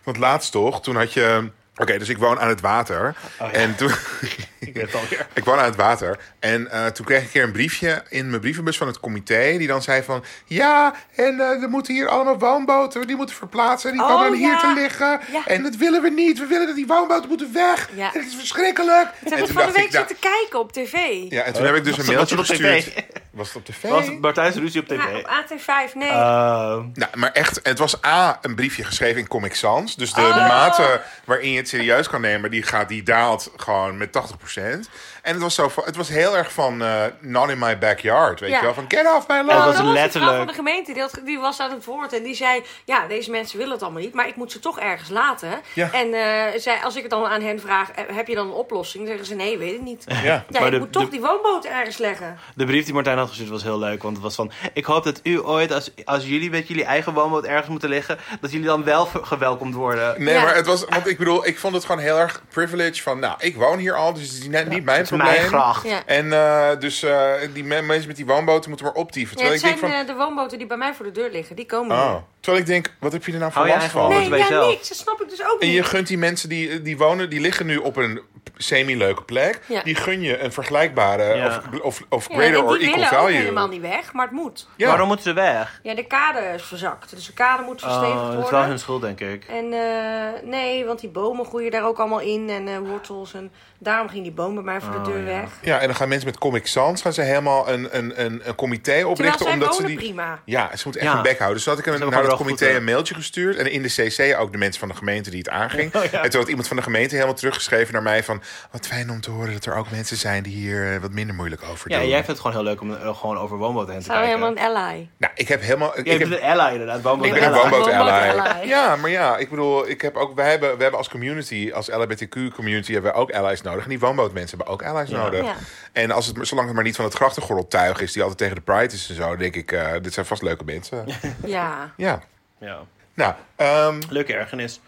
[SPEAKER 3] Want laatst toch, toen had je... Oké, dus ik woon aan het water. En toen...
[SPEAKER 1] Oh, (laughs) Ik weet het alweer.
[SPEAKER 3] Ik woon aan het water. En eh, toen kreeg ik een keer een briefje in mijn brievenbus van het comité. Die dan zei van... Ja, en eh, er moeten hier allemaal woonboten. Die moeten verplaatsen. Die
[SPEAKER 2] Oh,
[SPEAKER 3] komen dan
[SPEAKER 2] ja.
[SPEAKER 3] hier te liggen.
[SPEAKER 2] Ja.
[SPEAKER 3] En dat willen we niet. We willen dat die woonboten moeten weg.
[SPEAKER 2] Ja.
[SPEAKER 3] En het is verschrikkelijk.
[SPEAKER 2] Ik
[SPEAKER 3] en
[SPEAKER 2] heb
[SPEAKER 3] toen
[SPEAKER 2] het van de
[SPEAKER 3] dacht
[SPEAKER 2] week
[SPEAKER 3] ik... nou-
[SPEAKER 2] zitten kijken op tv.
[SPEAKER 3] ja, en toen heb ik dus
[SPEAKER 1] Was
[SPEAKER 3] een
[SPEAKER 1] het- was
[SPEAKER 3] mailtje
[SPEAKER 1] het op tv?
[SPEAKER 3] gestuurd. Was het op tv?
[SPEAKER 1] Was Martijn's ruzie op tv?
[SPEAKER 2] Ja, op AT5,
[SPEAKER 3] Ah.
[SPEAKER 2] nee.
[SPEAKER 1] Ehm,
[SPEAKER 3] Nou, maar echt, het was A, een briefje geschreven in Comic Sans. Dus de
[SPEAKER 2] Oh.
[SPEAKER 3] mate waarin je het serieus kan nemen, die, gaat, die daalt gewoon met 80%. En het was, zo, van- het was heel erg van eh, not in my backyard, weet
[SPEAKER 2] Ja.
[SPEAKER 3] je wel. Van get off my
[SPEAKER 1] Het
[SPEAKER 3] lawn.
[SPEAKER 1] was
[SPEAKER 2] Oh, dat was de vrouw van
[SPEAKER 1] letterlijk-
[SPEAKER 2] de gemeente, die, had- die was aan het woord. En die zei, ja, deze mensen willen het allemaal niet, maar ik moet ze toch ergens laten.
[SPEAKER 3] Ja.
[SPEAKER 2] En eh, zij, als ik het dan aan hen vraag, eh, heb je dan een oplossing? Dan zeggen ze, nee, weet ik niet. Ja,
[SPEAKER 3] Ja.
[SPEAKER 1] Maar
[SPEAKER 2] ik
[SPEAKER 1] de-
[SPEAKER 2] moet toch
[SPEAKER 1] de-
[SPEAKER 2] die woonboot ergens leggen.
[SPEAKER 1] de brief die Martijn had gestuurd was heel leuk. Want het was van... Ik hoop dat u ooit, als, als jullie met jullie eigen woonboot ergens moeten liggen... dat jullie dan wel ver- gewelkomd worden.
[SPEAKER 3] Nee,
[SPEAKER 2] Ja.
[SPEAKER 3] maar het was, want ik bedoel, ik vond het gewoon heel erg privilege van, nou, ik woon hier al, dus het is net niet mijn
[SPEAKER 1] Het is
[SPEAKER 3] probleem.
[SPEAKER 1] mijn gracht.
[SPEAKER 2] Ja.
[SPEAKER 3] En eh, dus eh, die me- mensen met die woonboten moeten maar optieven.
[SPEAKER 2] Ja,
[SPEAKER 3] Terwijl
[SPEAKER 2] het zijn
[SPEAKER 3] ik denk van,
[SPEAKER 2] eh, de woonboten die bij mij voor de deur liggen, die komen
[SPEAKER 3] oh.
[SPEAKER 2] niet.
[SPEAKER 3] Terwijl ik denk, wat heb je er nou voor
[SPEAKER 1] Hou je
[SPEAKER 3] last
[SPEAKER 1] eigen
[SPEAKER 3] van?
[SPEAKER 1] woonboot bij
[SPEAKER 2] Nee, ja,
[SPEAKER 1] jezelf.
[SPEAKER 2] niks. Dat snap ik dus ook
[SPEAKER 3] En
[SPEAKER 2] niet.
[SPEAKER 3] je gunt die mensen die, die wonen, die liggen nu op een semi-leuke plek.
[SPEAKER 2] Ja.
[SPEAKER 3] Die gun je een vergelijkbare
[SPEAKER 1] Ja.
[SPEAKER 3] of, of, of
[SPEAKER 2] Ja, en
[SPEAKER 3] greater or
[SPEAKER 2] die
[SPEAKER 3] equal
[SPEAKER 2] willen ook helemaal
[SPEAKER 3] value.
[SPEAKER 2] niet weg, maar het moet.
[SPEAKER 3] Ja.
[SPEAKER 1] Waarom moeten ze weg?
[SPEAKER 2] Ja, de kade is verzakt. Dus de kade moet verstevigd
[SPEAKER 1] Oh, dat is wel
[SPEAKER 2] worden.
[SPEAKER 1] hun schuld, denk ik.
[SPEAKER 2] En eh, nee, want die bomen groeien daar ook allemaal in en eh, wortels. En daarom ging die boom bij mij voor de deur weg.
[SPEAKER 3] Ja, en dan gaan mensen met Comic Sans gaan ze helemaal een, een, een, een comité
[SPEAKER 2] Terwijl
[SPEAKER 3] oprichten.
[SPEAKER 2] zij
[SPEAKER 3] omdat
[SPEAKER 2] wonen
[SPEAKER 3] ze die...
[SPEAKER 2] prima.
[SPEAKER 3] Ja, ze moeten echt
[SPEAKER 1] Ja.
[SPEAKER 3] hun bek houden. Dus toen had ik
[SPEAKER 1] hebben
[SPEAKER 3] een, naar
[SPEAKER 1] gewoon wel
[SPEAKER 3] het comité
[SPEAKER 1] goed, eh, hè?
[SPEAKER 3] een mailtje gestuurd. En in de CC ook de mensen van de gemeente die het
[SPEAKER 1] (laughs)
[SPEAKER 3] aanging.
[SPEAKER 1] Oh,
[SPEAKER 3] En toen had iemand van de gemeente helemaal teruggeschreven naar mij van... Wat fijn om te horen dat er ook mensen zijn die hier eh, wat minder moeilijk over
[SPEAKER 1] Ja,
[SPEAKER 3] doen.
[SPEAKER 1] jij vindt het gewoon heel leuk om eh, gewoon over woonboten heen te
[SPEAKER 2] Zijn we
[SPEAKER 1] kijken.
[SPEAKER 2] helemaal een ally.
[SPEAKER 3] Nou, ik heb helemaal... ik
[SPEAKER 1] Jij
[SPEAKER 3] heb-
[SPEAKER 1] bent een ally, inderdaad. Woonboot
[SPEAKER 3] Ik ben een
[SPEAKER 1] ally.
[SPEAKER 3] woonboot
[SPEAKER 2] Woonboot
[SPEAKER 3] ally.
[SPEAKER 2] ally.
[SPEAKER 1] (laughs)
[SPEAKER 3] Ja, maar ja, ik bedoel, ik heb ook, wij, hebben, wij hebben als community, als LHBTQ community, hebben we ook allies nodig. En die woonbootmensen hebben ook allies nodig.
[SPEAKER 2] Ja.
[SPEAKER 3] En als het, maar- zolang het maar niet van het grachtengorreltuig is, die altijd tegen de pride is en zo, denk ik, eh, dit zijn vast leuke mensen.
[SPEAKER 2] Ja.
[SPEAKER 3] (laughs) ja.
[SPEAKER 1] Ja.
[SPEAKER 3] Nou, ehm,
[SPEAKER 1] Leuke ergernis.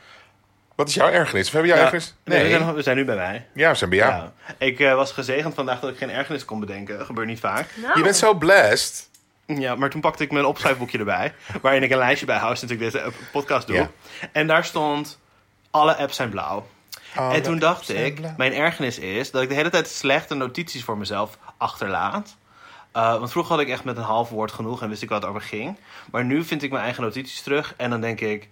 [SPEAKER 3] wat is jouw ergernis? Of hebben jouw
[SPEAKER 1] Ja.
[SPEAKER 3] ergernis?
[SPEAKER 1] Nee, we, zijn, nog- we zijn nu bij mij.
[SPEAKER 3] Ja, we zijn bij jou.
[SPEAKER 1] Ja. Ik eh, was gezegend vandaag dat ik geen ergernis kon bedenken. Gebeurt niet vaak.
[SPEAKER 2] Nou,
[SPEAKER 3] Je bent zo blessed.
[SPEAKER 1] Ja, maar toen pakte ik mijn opschrijfboekje erbij. Waarin ik een lijstje bijhoud sinds ik deze eh, podcast doe.
[SPEAKER 3] Ja.
[SPEAKER 1] En daar stond: Alle apps zijn blauw. en toen dacht
[SPEAKER 3] zijn
[SPEAKER 1] ik:
[SPEAKER 3] blauw.
[SPEAKER 1] Mijn ergernis is dat ik de hele tijd slechte notities voor mezelf achterlaat. Eh, want vroeger had ik echt met een half woord genoeg en wist ik wat het over ging. Maar nu vind ik mijn eigen notities terug en dan denk ik.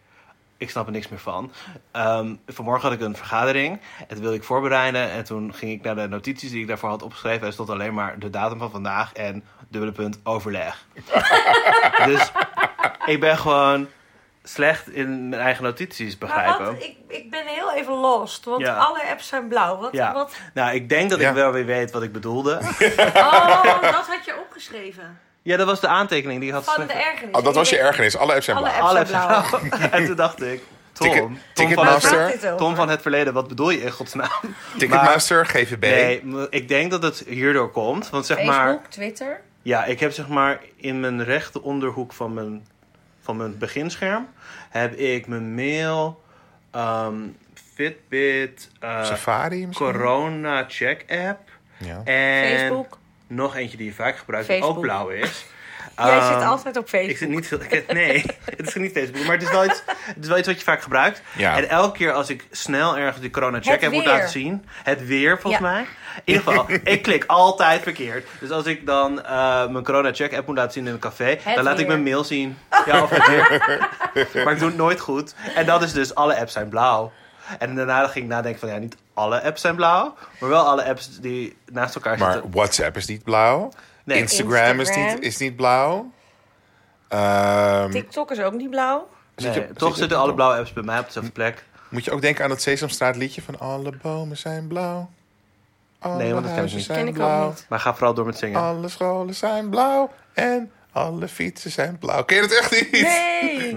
[SPEAKER 1] Ik snap er niks meer van. Ehm, vanmorgen had ik een vergadering. En toen wilde ik voorbereiden. En toen ging ik naar de notities die ik daarvoor had opgeschreven. En stond alleen maar de datum van vandaag en dubbele punt overleg. dus ik ben gewoon slecht in mijn eigen notities
[SPEAKER 2] maar
[SPEAKER 1] begrijpen.
[SPEAKER 2] wat, ik, ik ben heel even lost, want
[SPEAKER 1] Ja.
[SPEAKER 2] alle apps zijn blauw. Wat,
[SPEAKER 1] Ja. (laughs)
[SPEAKER 2] wat,
[SPEAKER 1] Nou, ik denk dat
[SPEAKER 3] Ja.
[SPEAKER 1] ik wel weer weet wat ik bedoelde.
[SPEAKER 3] (laughs)
[SPEAKER 2] oh, dat had je opgeschreven.
[SPEAKER 1] ja, dat was de aantekening die ik had
[SPEAKER 2] Van de
[SPEAKER 1] geschreven.
[SPEAKER 2] ergernis.
[SPEAKER 3] Oh, dat was je ergernis. Alle apps zijn
[SPEAKER 2] Alle
[SPEAKER 3] blauw.
[SPEAKER 2] apps
[SPEAKER 1] Alle
[SPEAKER 2] zijn blauw.
[SPEAKER 1] apps- (laughs) en toen dacht ik, Tom,
[SPEAKER 3] (laughs) Ticket-
[SPEAKER 1] Tom, van
[SPEAKER 3] Ticketmaster.
[SPEAKER 1] het,
[SPEAKER 2] Waar gaat dit over?
[SPEAKER 1] Tom van het verleden, wat bedoel je in godsnaam?
[SPEAKER 3] Ticketmaster, GVB.
[SPEAKER 1] Nee, maar ik denk dat het hierdoor komt. Want zeg maar,
[SPEAKER 2] Facebook, Twitter.
[SPEAKER 1] ja, ik heb zeg maar in mijn rechte onderhoek van mijn, van mijn beginscherm heb ik mijn mail, ehm, Fitbit, eh,
[SPEAKER 3] Safari misschien?
[SPEAKER 1] Corona Check App
[SPEAKER 3] Ja.
[SPEAKER 1] en
[SPEAKER 2] Facebook.
[SPEAKER 1] nog eentje die je vaak gebruikt, die
[SPEAKER 2] Facebook.
[SPEAKER 1] ook blauw is.
[SPEAKER 2] Jij
[SPEAKER 1] Ehm,
[SPEAKER 2] zit altijd op
[SPEAKER 1] ik zit
[SPEAKER 2] Facebook.
[SPEAKER 1] niet veel. ik- Nee, (laughs) het is niet Facebook. Maar het is wel iets, het is wel iets wat je vaak gebruikt.
[SPEAKER 3] Ja.
[SPEAKER 1] En elke keer als ik snel ergens die corona check
[SPEAKER 2] Het
[SPEAKER 1] heb moet
[SPEAKER 2] weer.
[SPEAKER 1] laten zien. Het weer volgens
[SPEAKER 2] Ja.
[SPEAKER 1] mij. In ieder
[SPEAKER 3] (laughs)
[SPEAKER 1] geval, ik klik altijd verkeerd. Dus als ik dan eh, mijn corona check app moet laten zien in een café. dan laat ik
[SPEAKER 2] weer.
[SPEAKER 1] mijn mail zien. Ja, of het weer.
[SPEAKER 2] (laughs)
[SPEAKER 1] maar ik doe het nooit goed. En dat is dus alle apps zijn blauw. En daarna ging ik nadenken van ja, niet alle apps zijn blauw. Maar wel alle apps die naast elkaar
[SPEAKER 3] Maar
[SPEAKER 1] zitten.
[SPEAKER 3] WhatsApp is niet blauw.
[SPEAKER 1] Nee.
[SPEAKER 3] Instagram, Is,
[SPEAKER 2] Instagram.
[SPEAKER 3] niet, is niet blauw. Ehm,
[SPEAKER 2] TikTok is ook niet blauw.
[SPEAKER 3] zit
[SPEAKER 1] Nee,
[SPEAKER 3] je- zit je
[SPEAKER 1] toch
[SPEAKER 3] op
[SPEAKER 1] zitten alle blauwe apps bij mij op dezelfde plek.
[SPEAKER 3] Moet je ook denken aan dat Sesamstraat liedje van alle bomen zijn blauw.
[SPEAKER 1] Nee, want dat ken ik
[SPEAKER 3] huizen
[SPEAKER 1] niet.
[SPEAKER 3] zijn
[SPEAKER 2] Ken ik ook
[SPEAKER 3] blauw.
[SPEAKER 2] niet.
[SPEAKER 1] Maar ga vooral door met zingen.
[SPEAKER 3] Alle scholen zijn blauw en alle fietsen zijn blauw. Ken je dat echt niet?
[SPEAKER 2] Nee!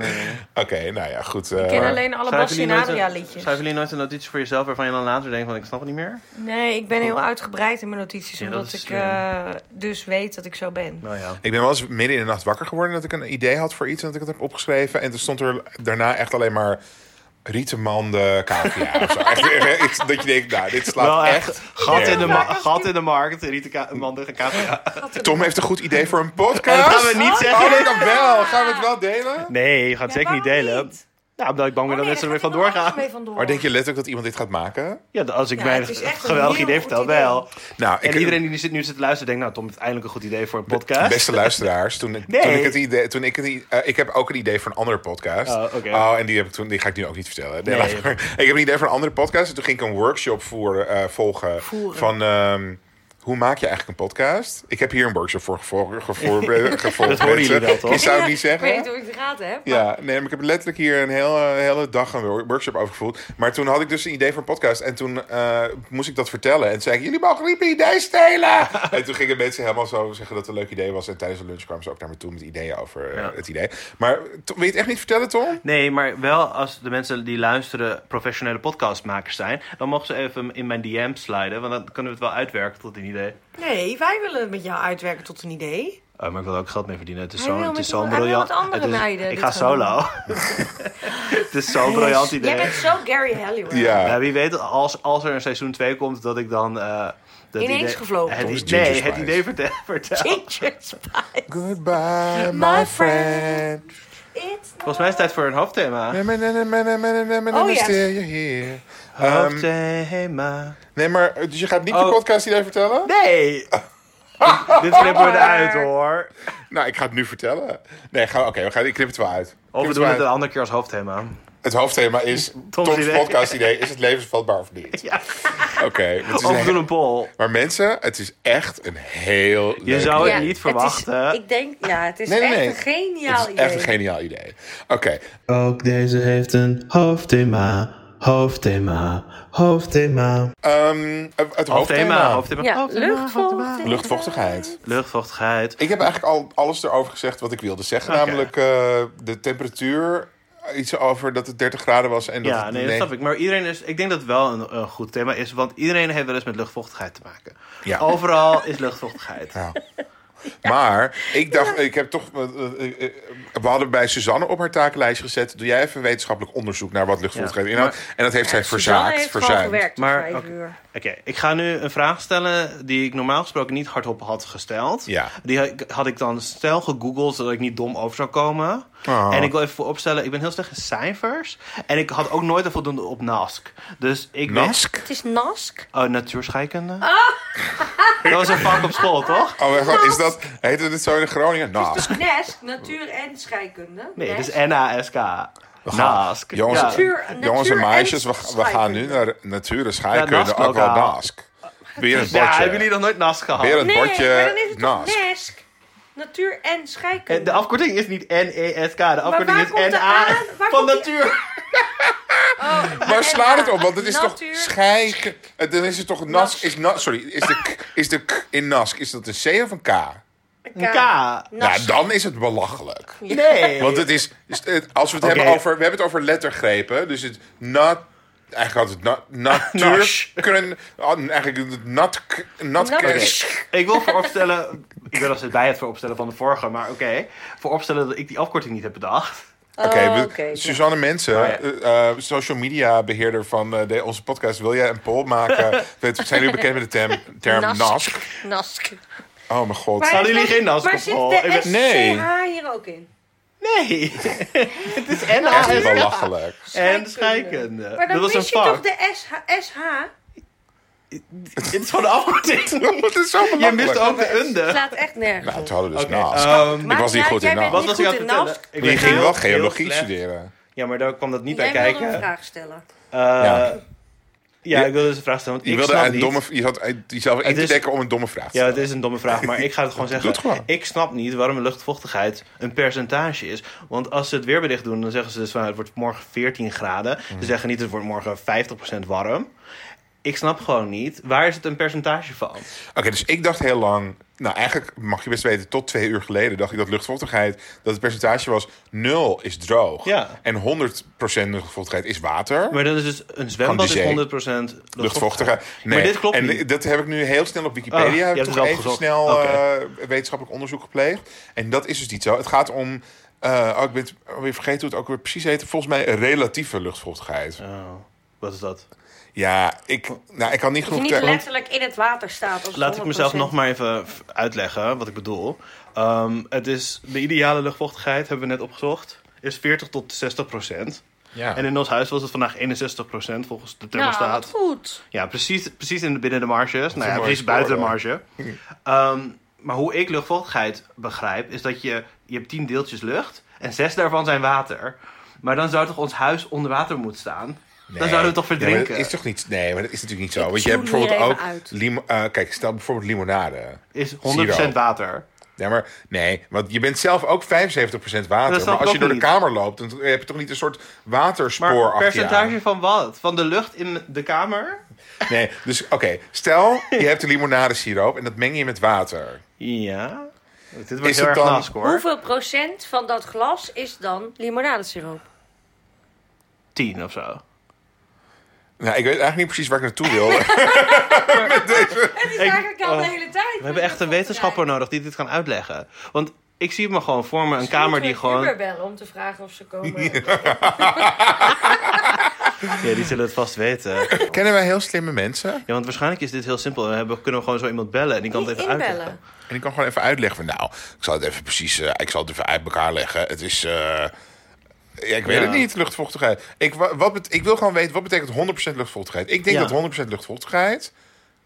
[SPEAKER 3] Oké, nou ja, goed. eh,
[SPEAKER 2] Ik ken alleen alle
[SPEAKER 1] Schrijven jullie nooit een-
[SPEAKER 2] Bassinaria liedjes.
[SPEAKER 1] Schrijven jullie nooit een notitie voor jezelf waarvan je dan later denkt van ik snap het niet meer?
[SPEAKER 2] Nee, ik ben heel uitgebreid in mijn notities.
[SPEAKER 1] Ja, dat
[SPEAKER 2] omdat
[SPEAKER 1] is
[SPEAKER 2] ik
[SPEAKER 1] slim.
[SPEAKER 2] eh, dus weet dat ik zo ben. Oh,
[SPEAKER 1] Nou ja.
[SPEAKER 3] Ik ben wel eens midden in de nacht wakker geworden dat ik een idee had voor iets en dat ik het heb opgeschreven. En toen stond er daarna echt alleen maar rietenmanden, cavia of zo. Echt, eh, (laughs) iets dat je denkt, nou, dit slaat
[SPEAKER 1] Wel
[SPEAKER 3] echt.
[SPEAKER 1] echt. Gat in, de ma-
[SPEAKER 2] Ja.
[SPEAKER 1] gat in de markt. Rita Mandige KVA.
[SPEAKER 3] Tom heeft een goed idee voor een
[SPEAKER 1] En (laughs) dat
[SPEAKER 3] podcast.
[SPEAKER 1] gaan we niet
[SPEAKER 3] Oh,
[SPEAKER 1] zeggen.
[SPEAKER 3] nee, dan wel. Gaan we het wel delen?
[SPEAKER 1] Nee, je gaat het
[SPEAKER 2] Ja,
[SPEAKER 1] zeker niet
[SPEAKER 2] waarom
[SPEAKER 1] delen.
[SPEAKER 2] niet?
[SPEAKER 1] Nou, omdat ik bang ben
[SPEAKER 2] Oh,
[SPEAKER 1] dat
[SPEAKER 2] nee,
[SPEAKER 1] mensen er
[SPEAKER 2] daar
[SPEAKER 1] weer
[SPEAKER 2] gaat
[SPEAKER 1] vandoor
[SPEAKER 2] iemand
[SPEAKER 1] gaan.
[SPEAKER 2] anders mee vandoor.
[SPEAKER 3] Maar denk je letterlijk dat iemand dit gaat maken?
[SPEAKER 1] Ja, als ik
[SPEAKER 2] Ja,
[SPEAKER 1] mij
[SPEAKER 2] het is
[SPEAKER 1] een
[SPEAKER 2] echt een
[SPEAKER 1] geweldig
[SPEAKER 2] heel
[SPEAKER 1] idee
[SPEAKER 2] goed
[SPEAKER 1] vertel,
[SPEAKER 2] idee.
[SPEAKER 1] wel.
[SPEAKER 3] Nou, ik,
[SPEAKER 1] En iedereen die zit, nu zit te luisteren denkt, nou Tom heeft eindelijk een goed idee voor een podcast.
[SPEAKER 3] Beste luisteraars, toen, ik-
[SPEAKER 1] Nee.
[SPEAKER 3] toen ik het idee, toen ik het, i- eh, ik heb ook een idee voor een andere podcast.
[SPEAKER 1] Oh, oké.
[SPEAKER 3] en die heb ik toen, die ga ik nu ook niet vertellen. Nee,
[SPEAKER 1] Nee,
[SPEAKER 3] laat
[SPEAKER 1] dat-
[SPEAKER 3] maar. Ik heb een idee voor een andere podcast. En toen ging ik een workshop voeren, eh, volgen
[SPEAKER 2] Voeren.
[SPEAKER 3] van. ehm, hoe maak je eigenlijk een podcast? Ik heb hier een workshop voor
[SPEAKER 1] (laughs)
[SPEAKER 3] gevolgd. gevolgd
[SPEAKER 1] Dat horen jullie wel, toch?
[SPEAKER 3] Je zou het niet
[SPEAKER 2] Ik weet
[SPEAKER 3] zeggen.
[SPEAKER 2] niet of ik het gaten heb.
[SPEAKER 3] Ja, nee, maar ik heb letterlijk hier een hele, hele dag een wor- workshop over gevoeld. Maar toen had ik dus een idee voor een podcast. En toen eh, moest ik dat vertellen. En toen zei ik, jullie mogen niet mijn
[SPEAKER 1] (laughs)
[SPEAKER 3] idee stelen. en toen gingen mensen helemaal zo zeggen dat het een leuk idee was. En tijdens de lunch kwamen ze ook naar me toe met ideeën over eh,
[SPEAKER 1] Ja.
[SPEAKER 3] het idee. Maar Tom, wil je het echt niet vertellen, Tom?
[SPEAKER 1] Nee, maar wel als de mensen die luisteren professionele podcastmakers zijn, dan mogen ze even in mijn DM sliden, want dan kunnen we het wel uitwerken tot een idee.
[SPEAKER 2] Nee, wij willen het met jou uitwerken tot een idee.
[SPEAKER 1] Oh, maar ik wil er ook geld mee verdienen. Het is
[SPEAKER 2] Hij
[SPEAKER 1] zo'n
[SPEAKER 2] wil
[SPEAKER 1] het is
[SPEAKER 2] met
[SPEAKER 1] zo'n
[SPEAKER 2] iemand- hij wil
[SPEAKER 1] briljant.
[SPEAKER 2] met andere
[SPEAKER 1] het is-
[SPEAKER 2] meiden
[SPEAKER 1] ik
[SPEAKER 2] dit
[SPEAKER 1] ga
[SPEAKER 2] gaan doen.
[SPEAKER 1] solo. (laughs) het is zo'n briljant idee.
[SPEAKER 2] Jij bent zo Gary Halliwell.
[SPEAKER 1] Ja,
[SPEAKER 3] Ja.
[SPEAKER 1] wie weet, als, als er een seizoen 2 komt, dat ik dan. eh dat
[SPEAKER 2] Ineens
[SPEAKER 1] idee-
[SPEAKER 2] gevlogen.
[SPEAKER 1] Het,
[SPEAKER 3] Tom is
[SPEAKER 1] idee- nee,
[SPEAKER 3] Ginger
[SPEAKER 1] het
[SPEAKER 3] Spice.
[SPEAKER 1] idee vertel. (laughs) vertel.
[SPEAKER 2] Ginger Spice. My
[SPEAKER 3] Goodbye, my
[SPEAKER 2] friend.
[SPEAKER 3] friend.
[SPEAKER 2] It's
[SPEAKER 1] Volgens mij is het tijd voor een hoofdthema.
[SPEAKER 3] Na, na, na, na, na, na, na, na, na,
[SPEAKER 2] Oh, ja.
[SPEAKER 3] still you're here. Ehm,
[SPEAKER 1] Hoofdthema.
[SPEAKER 3] nee, maar dus je gaat niet je
[SPEAKER 1] Oh.
[SPEAKER 3] podcast idee vertellen?
[SPEAKER 1] Nee! Dit knippen we eruit hoor.
[SPEAKER 3] Nou, ik ga het nu vertellen. Nee, ga, oké, we gaan, ik knip het wel uit. Ik knip
[SPEAKER 1] Of we doen
[SPEAKER 3] wel
[SPEAKER 1] het
[SPEAKER 3] uit.
[SPEAKER 1] een andere keer als hoofdthema.
[SPEAKER 3] Het hoofdthema
[SPEAKER 1] (laughs)
[SPEAKER 3] is Tom's,
[SPEAKER 1] idee.
[SPEAKER 3] podcast idee. Is het levensvatbaar
[SPEAKER 2] (laughs)
[SPEAKER 3] of niet?
[SPEAKER 1] Ja.
[SPEAKER 3] Oké. het is
[SPEAKER 1] Of we
[SPEAKER 3] een-
[SPEAKER 1] doen een poll.
[SPEAKER 3] Maar mensen, het is echt een heel
[SPEAKER 1] Je
[SPEAKER 3] leuk
[SPEAKER 1] zou
[SPEAKER 3] idee.
[SPEAKER 1] het niet verwachten.
[SPEAKER 2] ik denk, ja, het is
[SPEAKER 3] Nee, nee,
[SPEAKER 2] echt
[SPEAKER 3] nee.
[SPEAKER 2] een geniaal
[SPEAKER 3] Het is
[SPEAKER 2] idee.
[SPEAKER 3] echt een geniaal idee. Oké,
[SPEAKER 1] Ook deze heeft een hoofdthema. Hoofdthema. Hoofdthema.
[SPEAKER 3] ehm, het
[SPEAKER 1] Hoofdthema.
[SPEAKER 3] hoofdthema.
[SPEAKER 1] Hoofdthema.
[SPEAKER 2] ja,
[SPEAKER 1] hoofdthema,
[SPEAKER 2] luchtvocht.
[SPEAKER 1] hoofdthema.
[SPEAKER 3] Luchtvochtigheid.
[SPEAKER 1] Luchtvochtigheid.
[SPEAKER 3] Ik heb eigenlijk al alles erover gezegd wat ik wilde zeggen.
[SPEAKER 1] Oké.
[SPEAKER 3] Namelijk eh, de temperatuur. Iets over dat het 30 graden was en dat
[SPEAKER 1] Ja,
[SPEAKER 3] het...
[SPEAKER 1] nee, dat snap ik. Maar iedereen is, ik denk dat het wel een, een goed thema is, want iedereen heeft wel eens met luchtvochtigheid te maken.
[SPEAKER 3] Ja.
[SPEAKER 1] Overal is luchtvochtigheid.
[SPEAKER 3] Ja. Maar ik dacht, ik heb toch. eh, eh, eh, we hadden bij Suzanne op haar takenlijstje gezet. Doe jij even wetenschappelijk onderzoek naar wat luchtvochtigheid
[SPEAKER 1] Ja,
[SPEAKER 3] inhoudt? en dat heeft zij
[SPEAKER 2] Suzanne
[SPEAKER 3] verzaakt.
[SPEAKER 2] heeft gewoon
[SPEAKER 3] verzuimd.
[SPEAKER 2] gewerkt tot
[SPEAKER 1] Maar,
[SPEAKER 2] vijf
[SPEAKER 1] oké.
[SPEAKER 2] uur.
[SPEAKER 1] Oké, ik ga nu een vraag stellen die ik normaal gesproken niet hardop had gesteld.
[SPEAKER 3] Ja.
[SPEAKER 1] Die had ik- had ik dan snel gegoogeld zodat ik niet dom over zou komen.
[SPEAKER 3] Oh.
[SPEAKER 1] En ik wil even vooropstellen, ik ben heel slecht in cijfers. En ik had ook nooit een voldoende op NASC. Dus ik weet-
[SPEAKER 3] Nask?
[SPEAKER 2] Het is nask.
[SPEAKER 1] Oh, natuurscheikunde.
[SPEAKER 2] Oh.
[SPEAKER 1] Dat was een vak op school, toch?
[SPEAKER 3] Oh, mijn god, is dat. Heette het zo in Groningen?
[SPEAKER 2] Dus
[SPEAKER 3] Nask.
[SPEAKER 2] Nest, natuur en scheikunde.
[SPEAKER 1] Nee, het
[SPEAKER 2] Nest.
[SPEAKER 1] is N-A-S-K. NASC.
[SPEAKER 3] Jongens, eh,
[SPEAKER 1] ja.
[SPEAKER 2] Natuur-
[SPEAKER 3] jongens en
[SPEAKER 2] natuur-
[SPEAKER 3] meisjes,
[SPEAKER 2] en
[SPEAKER 3] we, we gaan nu naar natuur en scheikunde.
[SPEAKER 1] Ja, Nask
[SPEAKER 3] ook wel
[SPEAKER 1] ook al.
[SPEAKER 3] Nask. Weer een
[SPEAKER 1] Ja, hebben
[SPEAKER 3] bordje.
[SPEAKER 1] jullie nog nooit NASC
[SPEAKER 3] Weer
[SPEAKER 1] gehad?
[SPEAKER 3] een
[SPEAKER 2] Nee, maar dan is
[SPEAKER 3] bordje
[SPEAKER 2] het toch
[SPEAKER 3] Nask.
[SPEAKER 2] nesk. Natuur en scheikunde.
[SPEAKER 1] En Eh, De afkorting is niet N-E-S-K, de afkorting
[SPEAKER 2] waar
[SPEAKER 1] is
[SPEAKER 2] komt de
[SPEAKER 1] N-A
[SPEAKER 2] A? Waar
[SPEAKER 1] van
[SPEAKER 2] komt die-
[SPEAKER 1] natuur.
[SPEAKER 3] Waar slaat het op? Want het is
[SPEAKER 2] Natuur-
[SPEAKER 3] toch scheikunde. Dan is het toch Nask. Is na, sorry, is de, k- is de k in Nask, is dat een C of een K?
[SPEAKER 1] Een K.
[SPEAKER 3] Ja,
[SPEAKER 2] Nask.
[SPEAKER 3] dan is het belachelijk.
[SPEAKER 1] Nee.
[SPEAKER 3] Want het is, is het- als we het
[SPEAKER 1] Oké.
[SPEAKER 3] hebben over, we hebben het over lettergrepen, dus het nat, eigenlijk had het
[SPEAKER 1] (laughs)
[SPEAKER 3] na, natuur,
[SPEAKER 1] Nas.
[SPEAKER 3] kunnen, oh, eigenlijk het nat, nat,
[SPEAKER 2] Nat-
[SPEAKER 3] kunnen-
[SPEAKER 1] Ik wil vooropstellen, ik wil als het bij het vooropstellen van de vorige, maar oké. vooropstellen dat ik die afkorting niet heb bedacht.
[SPEAKER 3] Oké, we-
[SPEAKER 2] Oh, oké, dus ja.
[SPEAKER 3] Suzanne Mensen,
[SPEAKER 1] Oh, ja.
[SPEAKER 3] eh, eh, social media beheerder van eh, de, onze podcast, wil jij een poll maken? Weet- zijn jullie bekend met de term, term NASC?
[SPEAKER 2] Nask.
[SPEAKER 3] Oh mijn god.
[SPEAKER 2] Maar
[SPEAKER 1] Hadden
[SPEAKER 2] is
[SPEAKER 1] jullie
[SPEAKER 2] dat-
[SPEAKER 1] geen nask
[SPEAKER 2] Maar
[SPEAKER 1] op oh,
[SPEAKER 2] zit
[SPEAKER 1] school? Ik ben-
[SPEAKER 2] de
[SPEAKER 3] Nee.
[SPEAKER 2] SCH hier ook in?
[SPEAKER 1] Nee. (laughs) het is
[SPEAKER 3] Echt
[SPEAKER 1] NA
[SPEAKER 3] belachelijk.
[SPEAKER 1] en scheikunde.
[SPEAKER 2] Maar dan
[SPEAKER 1] Eh, dat was een
[SPEAKER 2] mis je toch
[SPEAKER 1] vak.
[SPEAKER 2] de SH? SH?
[SPEAKER 1] Het is gewoon de
[SPEAKER 3] (laughs)
[SPEAKER 1] afkorting.
[SPEAKER 3] Wat is zo
[SPEAKER 1] Je
[SPEAKER 3] belachelijk.
[SPEAKER 1] mist ook de unde.
[SPEAKER 2] Het slaat echt nergens
[SPEAKER 3] Nou,
[SPEAKER 2] op.
[SPEAKER 3] toen hadden we dus
[SPEAKER 1] Oké,
[SPEAKER 3] NASC.
[SPEAKER 1] ehm,
[SPEAKER 3] ik was niet
[SPEAKER 2] uit,
[SPEAKER 3] goed in
[SPEAKER 2] jij bent
[SPEAKER 1] Wat
[SPEAKER 3] NASC.
[SPEAKER 2] niet
[SPEAKER 1] was ik aan het
[SPEAKER 2] goed in
[SPEAKER 1] vertellen?
[SPEAKER 2] NASC.
[SPEAKER 1] Ik
[SPEAKER 3] Je
[SPEAKER 1] ben
[SPEAKER 3] ging
[SPEAKER 1] heel-
[SPEAKER 3] wel
[SPEAKER 1] heel
[SPEAKER 3] geologie
[SPEAKER 1] slecht.
[SPEAKER 3] studeren.
[SPEAKER 1] Ja, maar daar kwam dat niet
[SPEAKER 2] Jij
[SPEAKER 1] bij
[SPEAKER 2] wilde
[SPEAKER 1] kijken.
[SPEAKER 2] een vraag stellen.
[SPEAKER 1] Eh,
[SPEAKER 3] Ja.
[SPEAKER 1] ja. ik wilde dus een vraag stellen. Want
[SPEAKER 3] Je
[SPEAKER 1] ik
[SPEAKER 3] wilde
[SPEAKER 1] snap
[SPEAKER 3] een
[SPEAKER 1] niet-
[SPEAKER 3] domme, je zat jezelf in
[SPEAKER 1] Het
[SPEAKER 3] te
[SPEAKER 1] is-
[SPEAKER 3] dekken om een domme vraag te
[SPEAKER 1] Ja,
[SPEAKER 3] stellen.
[SPEAKER 1] het is een domme vraag, maar ik ga het
[SPEAKER 3] (laughs)
[SPEAKER 1] gewoon zeggen.
[SPEAKER 3] het gewoon.
[SPEAKER 1] Ik snap niet waarom luchtvochtigheid een percentage is. Want als ze het weerbericht doen,
[SPEAKER 3] Mm.
[SPEAKER 1] dan zeggen ze dus van het wordt morgen 14 graden. Ze zeggen niet het wordt morgen 50% warm. Ik snap gewoon niet. Waar is het een percentage van?
[SPEAKER 3] Oké, dus ik dacht heel lang. Nou, eigenlijk mag je best weten, tot twee uur geleden dacht ik dat luchtvochtigheid, dat het percentage was 0 is droog.
[SPEAKER 1] Ja.
[SPEAKER 3] En 100% luchtvochtigheid is water.
[SPEAKER 1] Maar dat is dus een zwembad
[SPEAKER 3] Gewoon die
[SPEAKER 1] is
[SPEAKER 3] zee.
[SPEAKER 1] 100% luchtvochtigheid.
[SPEAKER 3] Luchtvochtigheid. Nee.
[SPEAKER 1] Maar dit klopt
[SPEAKER 3] en
[SPEAKER 1] niet.
[SPEAKER 3] dat heb ik nu heel snel op
[SPEAKER 1] Oh, je
[SPEAKER 3] Wikipedia. heb
[SPEAKER 1] hebt het
[SPEAKER 3] ik toch
[SPEAKER 1] wel
[SPEAKER 3] even
[SPEAKER 1] gezocht.
[SPEAKER 3] snel
[SPEAKER 1] Oké.
[SPEAKER 3] eh, wetenschappelijk onderzoek gepleegd. En dat is dus niet zo. Het gaat om. eh, oh, ik ben het alweer vergeten hoe het ook weer precies heet. Volgens mij relatieve luchtvochtigheid.
[SPEAKER 1] Oh, wat is dat?
[SPEAKER 3] Ja, ik, nou, ik kan niet
[SPEAKER 2] Dat je
[SPEAKER 3] genoeg
[SPEAKER 2] niet
[SPEAKER 3] te- want-
[SPEAKER 2] letterlijk in het water staat. Als
[SPEAKER 1] Laat ik mezelf
[SPEAKER 2] 100%.
[SPEAKER 1] nog maar even v- uitleggen wat ik bedoel. Ehm, het is de ideale luchtvochtigheid, hebben we net opgezocht, is 40 tot 60 procent.
[SPEAKER 3] Ja.
[SPEAKER 1] En in ons huis was het vandaag 61 procent volgens de thermostaat.
[SPEAKER 2] Nou, wat goed.
[SPEAKER 1] Ja, precies, precies in, binnen de marges. Nou ja,
[SPEAKER 3] mooi
[SPEAKER 1] precies
[SPEAKER 3] score,
[SPEAKER 1] buiten de
[SPEAKER 3] hoor.
[SPEAKER 1] marge. Ehm, maar hoe ik luchtvochtigheid begrijp, is dat je, je hebt 10 deeltjes lucht en zes daarvan zijn water. Maar dan zou toch ons huis onder water moeten staan? Dan
[SPEAKER 3] Nee.
[SPEAKER 1] zouden we toch
[SPEAKER 3] Ja, maar
[SPEAKER 1] verdrinken?
[SPEAKER 3] dat is toch niet? Nee, maar dat is natuurlijk niet zo.
[SPEAKER 2] Ik
[SPEAKER 3] Want je hebt
[SPEAKER 2] zoen hier
[SPEAKER 3] bijvoorbeeld ook.
[SPEAKER 2] even uit.
[SPEAKER 3] limo- eh, kijk, stel bijvoorbeeld limonade.
[SPEAKER 1] is 100%
[SPEAKER 3] Zero.
[SPEAKER 1] water.
[SPEAKER 3] Nee, maar nee, want je bent zelf ook 75% water.
[SPEAKER 1] Dat snap
[SPEAKER 3] Maar
[SPEAKER 1] ik
[SPEAKER 3] als je
[SPEAKER 1] ook
[SPEAKER 3] door
[SPEAKER 1] niet.
[SPEAKER 3] de kamer loopt, dan heb je toch niet een soort waterspoor
[SPEAKER 1] Maar
[SPEAKER 3] achter je aan?
[SPEAKER 1] percentage van wat? Van de lucht in de kamer?
[SPEAKER 3] Nee, dus oké, stel je hebt een limonade siroop en dat meng je met water.
[SPEAKER 1] Ja. Dit wordt
[SPEAKER 3] Is
[SPEAKER 1] heel
[SPEAKER 3] het
[SPEAKER 1] erg
[SPEAKER 3] dan-
[SPEAKER 1] nask hoor.
[SPEAKER 2] Hoeveel procent van dat glas is dan limonadesiroop?
[SPEAKER 1] 10 of zo.
[SPEAKER 3] Nou, ik weet eigenlijk niet precies waar ik naartoe wil.
[SPEAKER 2] (laughs)
[SPEAKER 3] Oké,
[SPEAKER 2] Het is
[SPEAKER 1] Ik-
[SPEAKER 2] eigenlijk al de
[SPEAKER 1] oh,
[SPEAKER 2] hele tijd.
[SPEAKER 1] We hebben echt een wetenschapper nodig die dit kan uitleggen. Want ik zie me gewoon voor me een kamer die gewoon...
[SPEAKER 2] bellen om te vragen of ze komen.
[SPEAKER 1] Ja, die zullen het vast weten.
[SPEAKER 3] Kennen wij heel slimme mensen?
[SPEAKER 1] Ja, want waarschijnlijk is dit heel simpel. We hebben, kunnen we gewoon zo iemand bellen en die kan het
[SPEAKER 2] Niet
[SPEAKER 1] even
[SPEAKER 2] inbellen.
[SPEAKER 1] uitleggen.
[SPEAKER 3] En ik kan gewoon even uitleggen. van, Nou, ik zal het even precies. eh, ik zal het even uit elkaar leggen. Het is. eh, ja, ik weet
[SPEAKER 1] Ja.
[SPEAKER 3] het niet, luchtvochtigheid. Ik, wa- wat bet- ik wil gewoon weten, wat betekent 100% luchtvochtigheid? Ik denk
[SPEAKER 1] Ja.
[SPEAKER 3] dat 100% luchtvochtigheid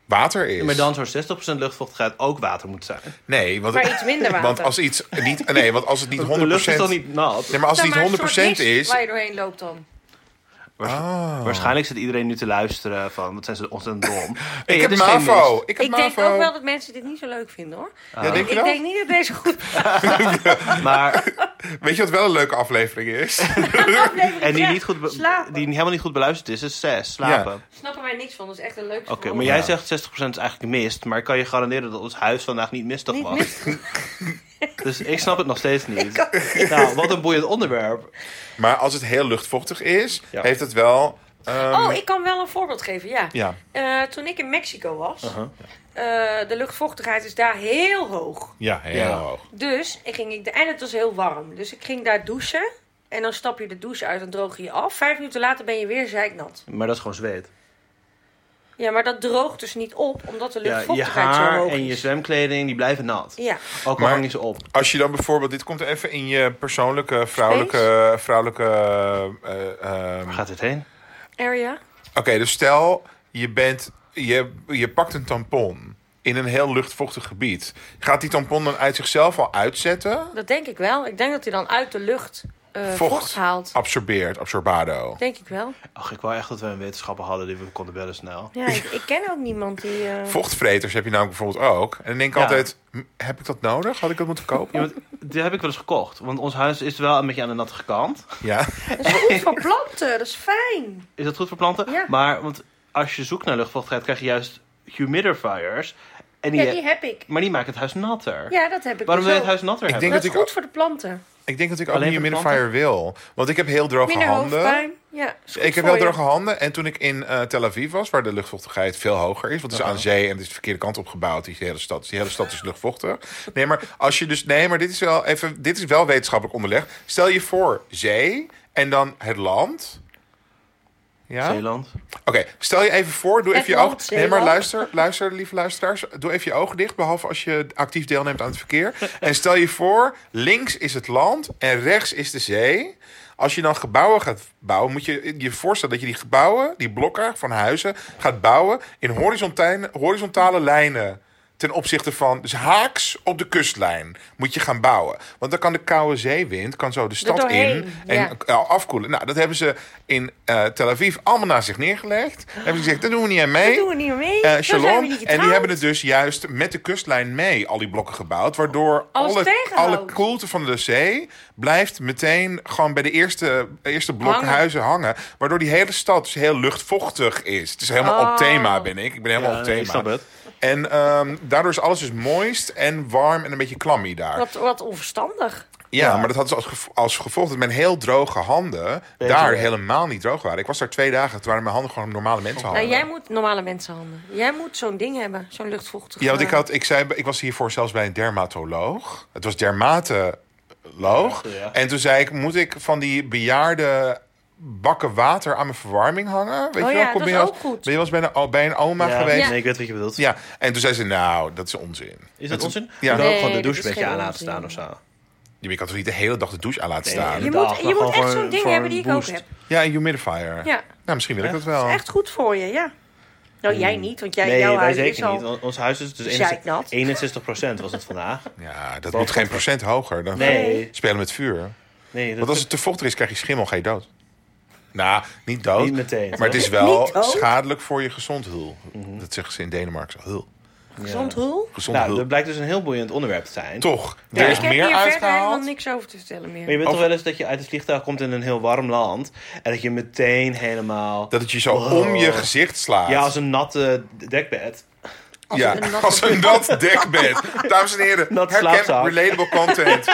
[SPEAKER 3] water is.
[SPEAKER 1] Ja, maar dan zou 60% luchtvochtigheid ook water moeten zijn.
[SPEAKER 3] Nee, want,
[SPEAKER 2] Maar iets minder water.
[SPEAKER 3] (laughs) Want als iets niet. Nee, want als het
[SPEAKER 1] (laughs)
[SPEAKER 3] niet 100%.
[SPEAKER 1] De lucht is dan niet nat.
[SPEAKER 3] Nee, maar als het
[SPEAKER 2] Nou, maar een
[SPEAKER 3] niet 100%
[SPEAKER 2] soort mist
[SPEAKER 3] is.
[SPEAKER 2] Waar je doorheen loopt dan.
[SPEAKER 3] Ah.
[SPEAKER 1] Waarschijnlijk zit iedereen nu te luisteren van... Wat zijn ze ontzettend dom. Nee,
[SPEAKER 3] (laughs)
[SPEAKER 1] het
[SPEAKER 3] Ik heb
[SPEAKER 1] is geen
[SPEAKER 3] MAVO.
[SPEAKER 1] mist.
[SPEAKER 3] Ik heb
[SPEAKER 2] Ik denk
[SPEAKER 3] MAVO.
[SPEAKER 2] ook wel dat mensen dit niet zo leuk vinden hoor.
[SPEAKER 3] Ja, denk je
[SPEAKER 2] Ik
[SPEAKER 3] dat?
[SPEAKER 2] denk niet dat deze
[SPEAKER 3] (laughs)
[SPEAKER 2] goed
[SPEAKER 1] Maar
[SPEAKER 3] Weet je wat wel een leuke aflevering
[SPEAKER 1] (laughs)
[SPEAKER 3] is?
[SPEAKER 2] aflevering
[SPEAKER 1] En die,
[SPEAKER 2] zegt,
[SPEAKER 1] niet goed be-
[SPEAKER 2] slapen.
[SPEAKER 1] die helemaal niet goed beluisterd is, is 6. Slapen.
[SPEAKER 2] Snappen wij niks van, dat is echt een leuk
[SPEAKER 1] Oké, maar jij zegt 60% is eigenlijk mist. Maar ik kan je garanderen dat ons huis vandaag niet mistig
[SPEAKER 2] Niet
[SPEAKER 1] was.
[SPEAKER 2] mistig.
[SPEAKER 1] (laughs) Dus ik snap het nog
[SPEAKER 2] (laughs)
[SPEAKER 1] steeds niet. Nou, wat een boeiend onderwerp.
[SPEAKER 3] maar als het heel luchtvochtig is,
[SPEAKER 1] Ja.
[SPEAKER 3] heeft het wel. ehm,
[SPEAKER 1] um,
[SPEAKER 2] Oh, ik kan wel een voorbeeld geven, ja.
[SPEAKER 3] Ja.
[SPEAKER 2] Eh, toen ik in Mexico was, eh, de luchtvochtigheid is daar heel hoog.
[SPEAKER 3] Ja, heel
[SPEAKER 1] Ja.
[SPEAKER 3] hoog.
[SPEAKER 2] Dus ik ging ik en het was heel warm. Dus ik ging daar douchen. En dan stap je de douche uit en droog je je af. Vijf minuten later ben je weer zeiknat.
[SPEAKER 1] Maar dat is gewoon zweet.
[SPEAKER 2] Ja, maar dat droogt dus niet op, omdat de
[SPEAKER 1] Ja, je
[SPEAKER 2] luchtvochtigheid zo
[SPEAKER 1] haar
[SPEAKER 2] hoog
[SPEAKER 1] en je
[SPEAKER 2] is.
[SPEAKER 1] zwemkleding, die blijven nat.
[SPEAKER 2] Ja,
[SPEAKER 1] Ook al
[SPEAKER 3] Maar-
[SPEAKER 1] hang je ze op.
[SPEAKER 3] Als je dan bijvoorbeeld, dit komt even in je persoonlijke vrouwelijke. vrouwelijke eh, ehm,
[SPEAKER 1] Waar gaat dit heen?
[SPEAKER 2] area.
[SPEAKER 3] Oké, dus stel je bent. Je, je pakt een tampon in een heel luchtvochtig gebied. Gaat die tampon dan uit zichzelf al uitzetten?
[SPEAKER 2] Dat denk ik wel. Ik denk dat hij dan uit de lucht eh, vocht.
[SPEAKER 3] Oh.
[SPEAKER 2] haalt.
[SPEAKER 3] Absorbeert, absorbado.
[SPEAKER 2] Denk ik wel.
[SPEAKER 1] Ach, ik wou echt dat we een wetenschapper hadden die we konden bellen snel.
[SPEAKER 2] Ja, ik, ik ken ook niemand die... eh,
[SPEAKER 3] Vochtvreters heb je namelijk bijvoorbeeld ook. En dan denk ik
[SPEAKER 1] Ja.
[SPEAKER 3] altijd, "Hm, heb ik dat nodig? Had ik dat moeten
[SPEAKER 1] Ja,
[SPEAKER 3] kopen?
[SPEAKER 1] want die heb ik wel eens gekocht. Want ons huis is wel een beetje aan de natte kant.
[SPEAKER 3] Ja.
[SPEAKER 2] Dat is goed voor planten, dat is fijn.
[SPEAKER 1] Is dat goed voor planten?
[SPEAKER 2] Ja.
[SPEAKER 1] Maar want als je zoekt naar luchtvochtigheid, krijg je juist humidifiers. En die,
[SPEAKER 2] Ja, die heb ik.
[SPEAKER 1] Maar die maken het huis natter.
[SPEAKER 2] Ja, dat heb
[SPEAKER 1] Waarom
[SPEAKER 2] ik.
[SPEAKER 1] wil
[SPEAKER 2] dus
[SPEAKER 1] je het
[SPEAKER 2] ook.
[SPEAKER 1] huis natter
[SPEAKER 3] Ik
[SPEAKER 1] hebben?
[SPEAKER 3] denk
[SPEAKER 2] Dat
[SPEAKER 3] dat
[SPEAKER 2] is
[SPEAKER 3] ik,
[SPEAKER 2] goed voor de planten.
[SPEAKER 3] ik denk dat ik ook
[SPEAKER 1] Alleen
[SPEAKER 3] niet een
[SPEAKER 1] voor de
[SPEAKER 3] minifier wil. Want ik heb heel droge
[SPEAKER 2] Minder
[SPEAKER 3] handen.
[SPEAKER 2] hoofdpijn. Ja, is goed
[SPEAKER 3] Ik heb
[SPEAKER 2] voor
[SPEAKER 3] heel
[SPEAKER 2] je.
[SPEAKER 3] droge handen. En toen ik in eh, Tel Aviv was, waar de luchtvochtigheid veel hoger is. Want het is aan zee en het is de verkeerde kant op gebouwd. Die hele stad, die hele stad is luchtvochtig. Nee, maar als je dus. Nee, maar dit is wel even. Dit is wel wetenschappelijk onderlegd. Stel je voor zee en dan het land. Ja? Oké,
[SPEAKER 1] Zeeland.
[SPEAKER 3] stel je even voor. Doe
[SPEAKER 2] Het
[SPEAKER 3] even je
[SPEAKER 2] land,
[SPEAKER 3] ogen. Nee, maar
[SPEAKER 2] Zeeland.
[SPEAKER 3] luister, luister, lieve luisteraars. Doe even je ogen dicht. Behalve als je actief deelneemt aan het
[SPEAKER 2] (laughs)
[SPEAKER 3] verkeer. En stel je voor, links is het land en rechts is de zee. Als je dan gebouwen gaat bouwen, moet je je voorstellen dat je die gebouwen, die blokken van huizen, gaat bouwen in horizontain- horizontale lijnen. ten opzichte van... Dus haaks op de kustlijn moet je gaan bouwen. Want dan kan de koude zeewind kan zo de stad
[SPEAKER 2] doorheen,
[SPEAKER 3] in en
[SPEAKER 2] ja.
[SPEAKER 3] eh, afkoelen. Nou, dat hebben ze in eh, Tel Aviv allemaal naast zich neergelegd. Hebben ze gezegd, dat doen we niet aan mee.
[SPEAKER 2] Ah. Dat doen we niet meer mee.
[SPEAKER 3] Eh,
[SPEAKER 2] Daar zijn we
[SPEAKER 3] shalom.
[SPEAKER 2] niet
[SPEAKER 3] en die
[SPEAKER 2] getrouwd.
[SPEAKER 3] hebben het dus juist met de kustlijn mee, al die blokken gebouwd. Waardoor
[SPEAKER 2] Alles
[SPEAKER 3] alle,
[SPEAKER 2] tegenhoudt.
[SPEAKER 3] alle koelte van de zee blijft meteen gewoon bij de eerste, eerste blok
[SPEAKER 2] Hangen.
[SPEAKER 3] huizen hangen. Waardoor die hele stad dus heel luchtvochtig is. Het is helemaal
[SPEAKER 2] Oh.
[SPEAKER 3] op thema, ben ik. Ik ben helemaal
[SPEAKER 1] Ja,
[SPEAKER 3] op
[SPEAKER 1] nee,
[SPEAKER 3] thema.
[SPEAKER 1] ik snap het.
[SPEAKER 3] En ehm, daardoor is alles dus mooist en warm en een beetje klammy daar.
[SPEAKER 2] Wat, wat onverstandig.
[SPEAKER 3] Ja, maar dat had dus als, gevo- als gevolg dat mijn heel droge handen daar
[SPEAKER 1] wel.
[SPEAKER 3] helemaal niet droog waren. Ik was daar twee dagen, toen waren mijn handen gewoon normale mensenhanden.
[SPEAKER 2] Nou, jij moet normale mensenhanden. Jij moet zo'n ding hebben, zo'n luchtvochtig.
[SPEAKER 3] Ja, want
[SPEAKER 2] eh,
[SPEAKER 3] ik, had, ik, zei, ik was hiervoor zelfs bij een dermatoloog. Het was dermatoloog.
[SPEAKER 1] Ja.
[SPEAKER 3] En toen zei ik, moet ik van die bejaarde bakken water aan mijn verwarming hangen? Weet
[SPEAKER 2] Oh
[SPEAKER 3] je
[SPEAKER 2] ja, dat
[SPEAKER 3] wel, ben je
[SPEAKER 2] is
[SPEAKER 3] wel
[SPEAKER 2] ook
[SPEAKER 3] eens-
[SPEAKER 2] goed.
[SPEAKER 3] Ben je wel eens bij een, o- bij een oma
[SPEAKER 1] Ja,
[SPEAKER 3] geweest?
[SPEAKER 1] Nee, ik weet wat je bedoelt.
[SPEAKER 3] Ja. En toen zei ze, nou, dat is onzin.
[SPEAKER 1] Is dat onzin?
[SPEAKER 3] Ja.
[SPEAKER 1] Ja. Dan ook
[SPEAKER 2] Nee,
[SPEAKER 1] gewoon de
[SPEAKER 2] dat
[SPEAKER 1] douche
[SPEAKER 2] is
[SPEAKER 1] een beetje
[SPEAKER 2] geen
[SPEAKER 1] aan laten
[SPEAKER 2] onzin.
[SPEAKER 1] staan of zo.
[SPEAKER 3] Je kan toch niet de hele dag de douche aan laten
[SPEAKER 1] Nee,
[SPEAKER 3] staan?
[SPEAKER 2] je
[SPEAKER 1] inderdaad,
[SPEAKER 2] moet,
[SPEAKER 1] maar
[SPEAKER 2] je
[SPEAKER 1] gewoon
[SPEAKER 2] moet
[SPEAKER 1] voor
[SPEAKER 2] echt zo'n
[SPEAKER 1] een-
[SPEAKER 2] ding
[SPEAKER 1] voor
[SPEAKER 2] hebben die
[SPEAKER 1] een
[SPEAKER 2] ik ook
[SPEAKER 1] boost.
[SPEAKER 2] heb.
[SPEAKER 3] Ja, een humidifier.
[SPEAKER 2] Ja.
[SPEAKER 3] Nou, misschien wil ik dat
[SPEAKER 2] Dat
[SPEAKER 3] wel.
[SPEAKER 2] is echt goed voor je, ja. Nou, jij niet, want jij,
[SPEAKER 1] Oh. Mm. Nee,
[SPEAKER 2] jouw
[SPEAKER 1] wij
[SPEAKER 2] huis is
[SPEAKER 1] zeker
[SPEAKER 2] al...
[SPEAKER 1] niet. want Ons huis is dus
[SPEAKER 2] zeiknat.
[SPEAKER 1] 61, 61 procent was het
[SPEAKER 3] (laughs)
[SPEAKER 1] vandaag.
[SPEAKER 3] Ja, dat moet geen procent hoger. Dan
[SPEAKER 1] Nee.
[SPEAKER 3] spelen met vuur.
[SPEAKER 1] Nee, dat
[SPEAKER 3] Want als het te vochtig is, krijg je schimmel, ga je dood. Nou, niet
[SPEAKER 1] (laughs)
[SPEAKER 3] dood.
[SPEAKER 1] Niet meteen,
[SPEAKER 3] Maar het is
[SPEAKER 1] toch?
[SPEAKER 3] wel
[SPEAKER 2] Niet dood?
[SPEAKER 3] schadelijk voor je gezond hul. Dat zeggen ze in Denemarken. zo, Hul.
[SPEAKER 2] Gezond hul?
[SPEAKER 3] Gezond
[SPEAKER 1] nou,
[SPEAKER 3] hul.
[SPEAKER 1] dat blijkt dus een heel boeiend onderwerp te zijn.
[SPEAKER 3] Toch,
[SPEAKER 1] Ja,
[SPEAKER 3] er
[SPEAKER 1] ik
[SPEAKER 3] is
[SPEAKER 2] ik heb
[SPEAKER 3] meer
[SPEAKER 2] hier verder helemaal
[SPEAKER 3] uitgehaald.
[SPEAKER 2] niks over te vertellen
[SPEAKER 1] Maar je
[SPEAKER 2] meer.
[SPEAKER 1] weet toch
[SPEAKER 3] Over-
[SPEAKER 1] wel eens dat je uit het vliegtuig komt in een heel warm land. En dat je meteen helemaal...
[SPEAKER 3] Dat het je zo
[SPEAKER 1] Wow.
[SPEAKER 3] om je gezicht slaat.
[SPEAKER 1] Ja, als een natte dekbed.
[SPEAKER 3] Ja,
[SPEAKER 2] een nat-
[SPEAKER 3] als een nat dekbed.
[SPEAKER 1] (laughs)
[SPEAKER 3] Dames en heren,
[SPEAKER 1] Nat
[SPEAKER 3] herken
[SPEAKER 1] slaapzak.
[SPEAKER 3] relatable
[SPEAKER 1] (laughs)
[SPEAKER 3] content.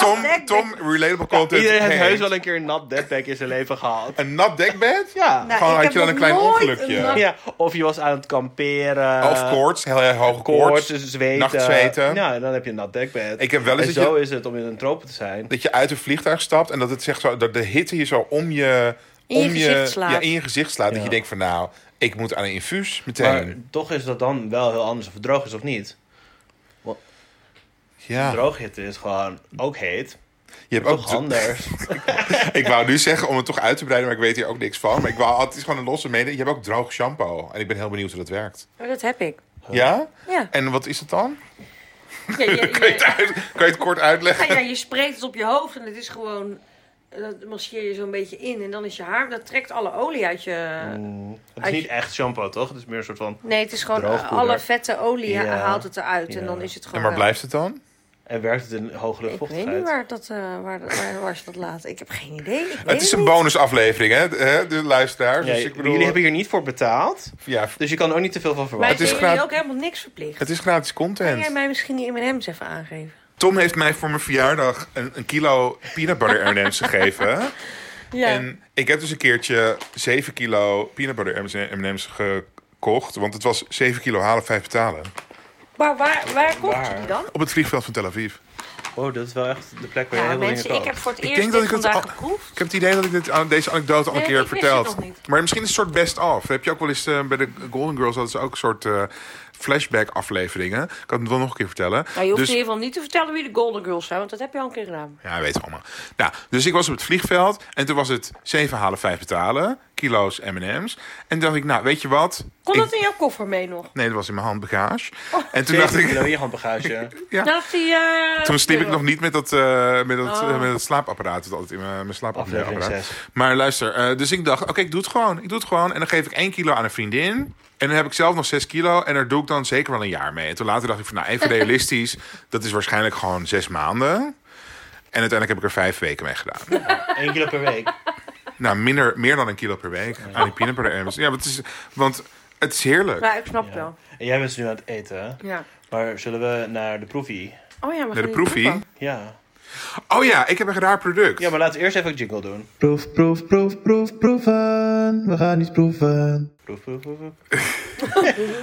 [SPEAKER 3] Tom,
[SPEAKER 2] dekbed.
[SPEAKER 3] Tom, relatable content.
[SPEAKER 1] Iedereen heeft
[SPEAKER 3] heet
[SPEAKER 1] heus wel een keer een nat dekbed in zijn leven gehad.
[SPEAKER 3] Een nat dekbed?
[SPEAKER 1] Ja.
[SPEAKER 2] Nou,
[SPEAKER 3] Gewoon
[SPEAKER 2] ik
[SPEAKER 3] had
[SPEAKER 2] heb
[SPEAKER 3] je dan een
[SPEAKER 2] nog
[SPEAKER 3] klein
[SPEAKER 2] nooit
[SPEAKER 3] ongelukje.
[SPEAKER 2] een nat-
[SPEAKER 1] ja. Of je was aan het kamperen.
[SPEAKER 3] Of koorts, heel erg hoge
[SPEAKER 1] Koorts, dus
[SPEAKER 3] koorts.
[SPEAKER 1] zweten.
[SPEAKER 3] nachtzweten.
[SPEAKER 1] Ja, dan heb je een nat dekbed.
[SPEAKER 3] Ik heb wel eens
[SPEAKER 1] en
[SPEAKER 3] dat je-
[SPEAKER 1] zo is het om in een tropen te zijn.
[SPEAKER 3] dat je uit een vliegtuig stapt en dat het zegt zo, dat de hitte je zo om je,
[SPEAKER 2] In je
[SPEAKER 3] om
[SPEAKER 2] gezicht slaat.
[SPEAKER 3] Ja, in je gezicht slaat. Dat
[SPEAKER 1] Ja.
[SPEAKER 3] je denkt van nou, ik moet aan een infuus meteen.
[SPEAKER 1] Maar toch is dat dan wel heel anders of het droog is of niet.
[SPEAKER 3] ja,
[SPEAKER 1] Drooghitte is gewoon ook heet.
[SPEAKER 3] je hebt ook.
[SPEAKER 1] Toch anders.
[SPEAKER 3] (laughs) ik wou nu zeggen om het toch uit te breiden, maar ik weet hier ook niks van. Maar ik wou, het is gewoon een losse mede. Je hebt ook droog shampoo en ik ben heel benieuwd hoe dat werkt.
[SPEAKER 2] Maar dat heb ik.
[SPEAKER 3] Ja? (laughs)
[SPEAKER 2] Ja.
[SPEAKER 3] En wat is dat dan?
[SPEAKER 2] Ja, je,
[SPEAKER 3] Kan je het,
[SPEAKER 2] je,
[SPEAKER 3] uit- kan je het kort uitleggen?
[SPEAKER 2] ja, je spreekt het op je hoofd en het is gewoon... Dat masseer je zo'n beetje in en dan is je haar... Dat trekt alle olie uit je...
[SPEAKER 1] Mm. Het is niet echt shampoo, toch? Het is meer een soort van...
[SPEAKER 2] Nee, het is gewoon eh,
[SPEAKER 1] Droogpoeder.
[SPEAKER 2] alle vette olie
[SPEAKER 1] Ja.
[SPEAKER 2] haalt het eruit. En
[SPEAKER 1] Ja.
[SPEAKER 2] dan is het gewoon...
[SPEAKER 3] En waar
[SPEAKER 2] eh,
[SPEAKER 3] blijft het dan?
[SPEAKER 1] En werkt het in hoge
[SPEAKER 2] Ik weet
[SPEAKER 1] luchtvochtigheid?
[SPEAKER 2] niet waar, dat, eh, waar, waar, waar ze dat laten. Ik heb geen idee. Ik weet
[SPEAKER 3] Het is een
[SPEAKER 2] niet.
[SPEAKER 3] bonusaflevering, hè, de- hè, de luisteraar.
[SPEAKER 1] Nee,
[SPEAKER 3] Dus ik bedoel,
[SPEAKER 1] Jullie hebben hier niet voor betaald.
[SPEAKER 3] ja,
[SPEAKER 1] Dus je kan er ook niet te veel van
[SPEAKER 2] Maar
[SPEAKER 1] verwachten.
[SPEAKER 2] het
[SPEAKER 3] is
[SPEAKER 2] is
[SPEAKER 3] gratis-
[SPEAKER 2] jullie ook helemaal niks verplicht.
[SPEAKER 3] het is gratis
[SPEAKER 2] Kan jij
[SPEAKER 3] content.
[SPEAKER 2] mij misschien die M&M's even aangeven?
[SPEAKER 3] Tom heeft mij voor mijn verjaardag een, een kilo peanut butter M&M's
[SPEAKER 2] (laughs)
[SPEAKER 3] gegeven.
[SPEAKER 2] Ja.
[SPEAKER 3] En ik heb dus een keertje 7 kilo peanut butter M- M&M's gekocht. Want het was 7 kilo halen, 5 betalen.
[SPEAKER 2] Maar waar, waar kocht
[SPEAKER 1] Waar?
[SPEAKER 2] je die dan?
[SPEAKER 3] Op het vliegveld van Tel Aviv.
[SPEAKER 1] Oh, dat is wel echt de plek waar je heel
[SPEAKER 2] Ja,
[SPEAKER 1] veel dingen
[SPEAKER 2] mensen, ik
[SPEAKER 1] koopt.
[SPEAKER 2] heb voor het
[SPEAKER 3] Ik
[SPEAKER 2] eerst
[SPEAKER 3] denk
[SPEAKER 2] dit
[SPEAKER 3] dat ik het
[SPEAKER 2] vandaag
[SPEAKER 3] al-
[SPEAKER 2] geproefd.
[SPEAKER 3] Ik heb het idee dat ik dit, aan- deze anekdote al een
[SPEAKER 2] Nee,
[SPEAKER 3] keer
[SPEAKER 2] ik
[SPEAKER 3] heb
[SPEAKER 2] wist
[SPEAKER 3] verteld.
[SPEAKER 2] het nog niet.
[SPEAKER 3] Maar misschien is het een soort best-of. Heb je ook wel eens eh, bij de Golden Girls hadden ze ook een soort eh, flashback-afleveringen. Ik kan het wel nog een keer vertellen.
[SPEAKER 2] Nou, je hoeft
[SPEAKER 3] Dus-
[SPEAKER 2] in ieder geval niet te vertellen wie de Golden Girls zijn, want dat heb je al een keer gedaan.
[SPEAKER 3] Ja, weet het allemaal. Nou, dus ik was op het vliegveld en toen was het 7 halen, 5 betalen. Kilo's M&M's. En toen dacht ik, nou, weet je wat?
[SPEAKER 2] Kon
[SPEAKER 3] Ik-
[SPEAKER 2] dat Oh, in jouw koffer mee nog?
[SPEAKER 3] Nee, dat was in mijn handbagage. en toen
[SPEAKER 1] Zeven
[SPEAKER 3] dacht ik,
[SPEAKER 1] kilo in je handbagage.
[SPEAKER 3] Ja.
[SPEAKER 2] Nou, of die, eh,
[SPEAKER 3] (laughs) Toen sliep ik
[SPEAKER 2] euro.
[SPEAKER 3] nog niet met dat, eh, met dat,
[SPEAKER 2] Oh.
[SPEAKER 3] eh, met dat slaapapparaat. Dat altijd in mijn, mijn
[SPEAKER 1] Aflevering
[SPEAKER 3] slaapapparaat.
[SPEAKER 1] 6.
[SPEAKER 3] Maar luister, eh, dus ik dacht, oké, ik doe het gewoon. Ik doe het gewoon. En dan geef ik 1 kilo aan een vriendin. En dan heb ik zelf nog 6 kilo. En daar doe ik dan zeker wel een jaar mee. En toen later dacht ik van, nou,
[SPEAKER 2] (laughs)
[SPEAKER 3] even realistisch. dat is waarschijnlijk gewoon 6 maanden. En uiteindelijk heb ik er vijf weken mee gedaan.
[SPEAKER 1] Eén kilo per week.
[SPEAKER 3] nou, minder, meer dan een kilo per week aan die peanut butter M&M's. Ja, want het is, want het is heerlijk.
[SPEAKER 2] Ja, ik snap (laughs) wel.
[SPEAKER 1] En jij bent dus nu aan het eten. hè?
[SPEAKER 2] Ja.
[SPEAKER 1] Maar zullen we naar de proefie?
[SPEAKER 2] Oh ja, maar
[SPEAKER 3] de proefie.
[SPEAKER 1] Ja.
[SPEAKER 3] Oh ja, ik heb een raar product.
[SPEAKER 1] Ja, maar laten we eerst even een jingle doen.
[SPEAKER 4] Proef, proef, proef, proef, proeven. We gaan iets proeven.
[SPEAKER 1] Proef, proef, proef. proef.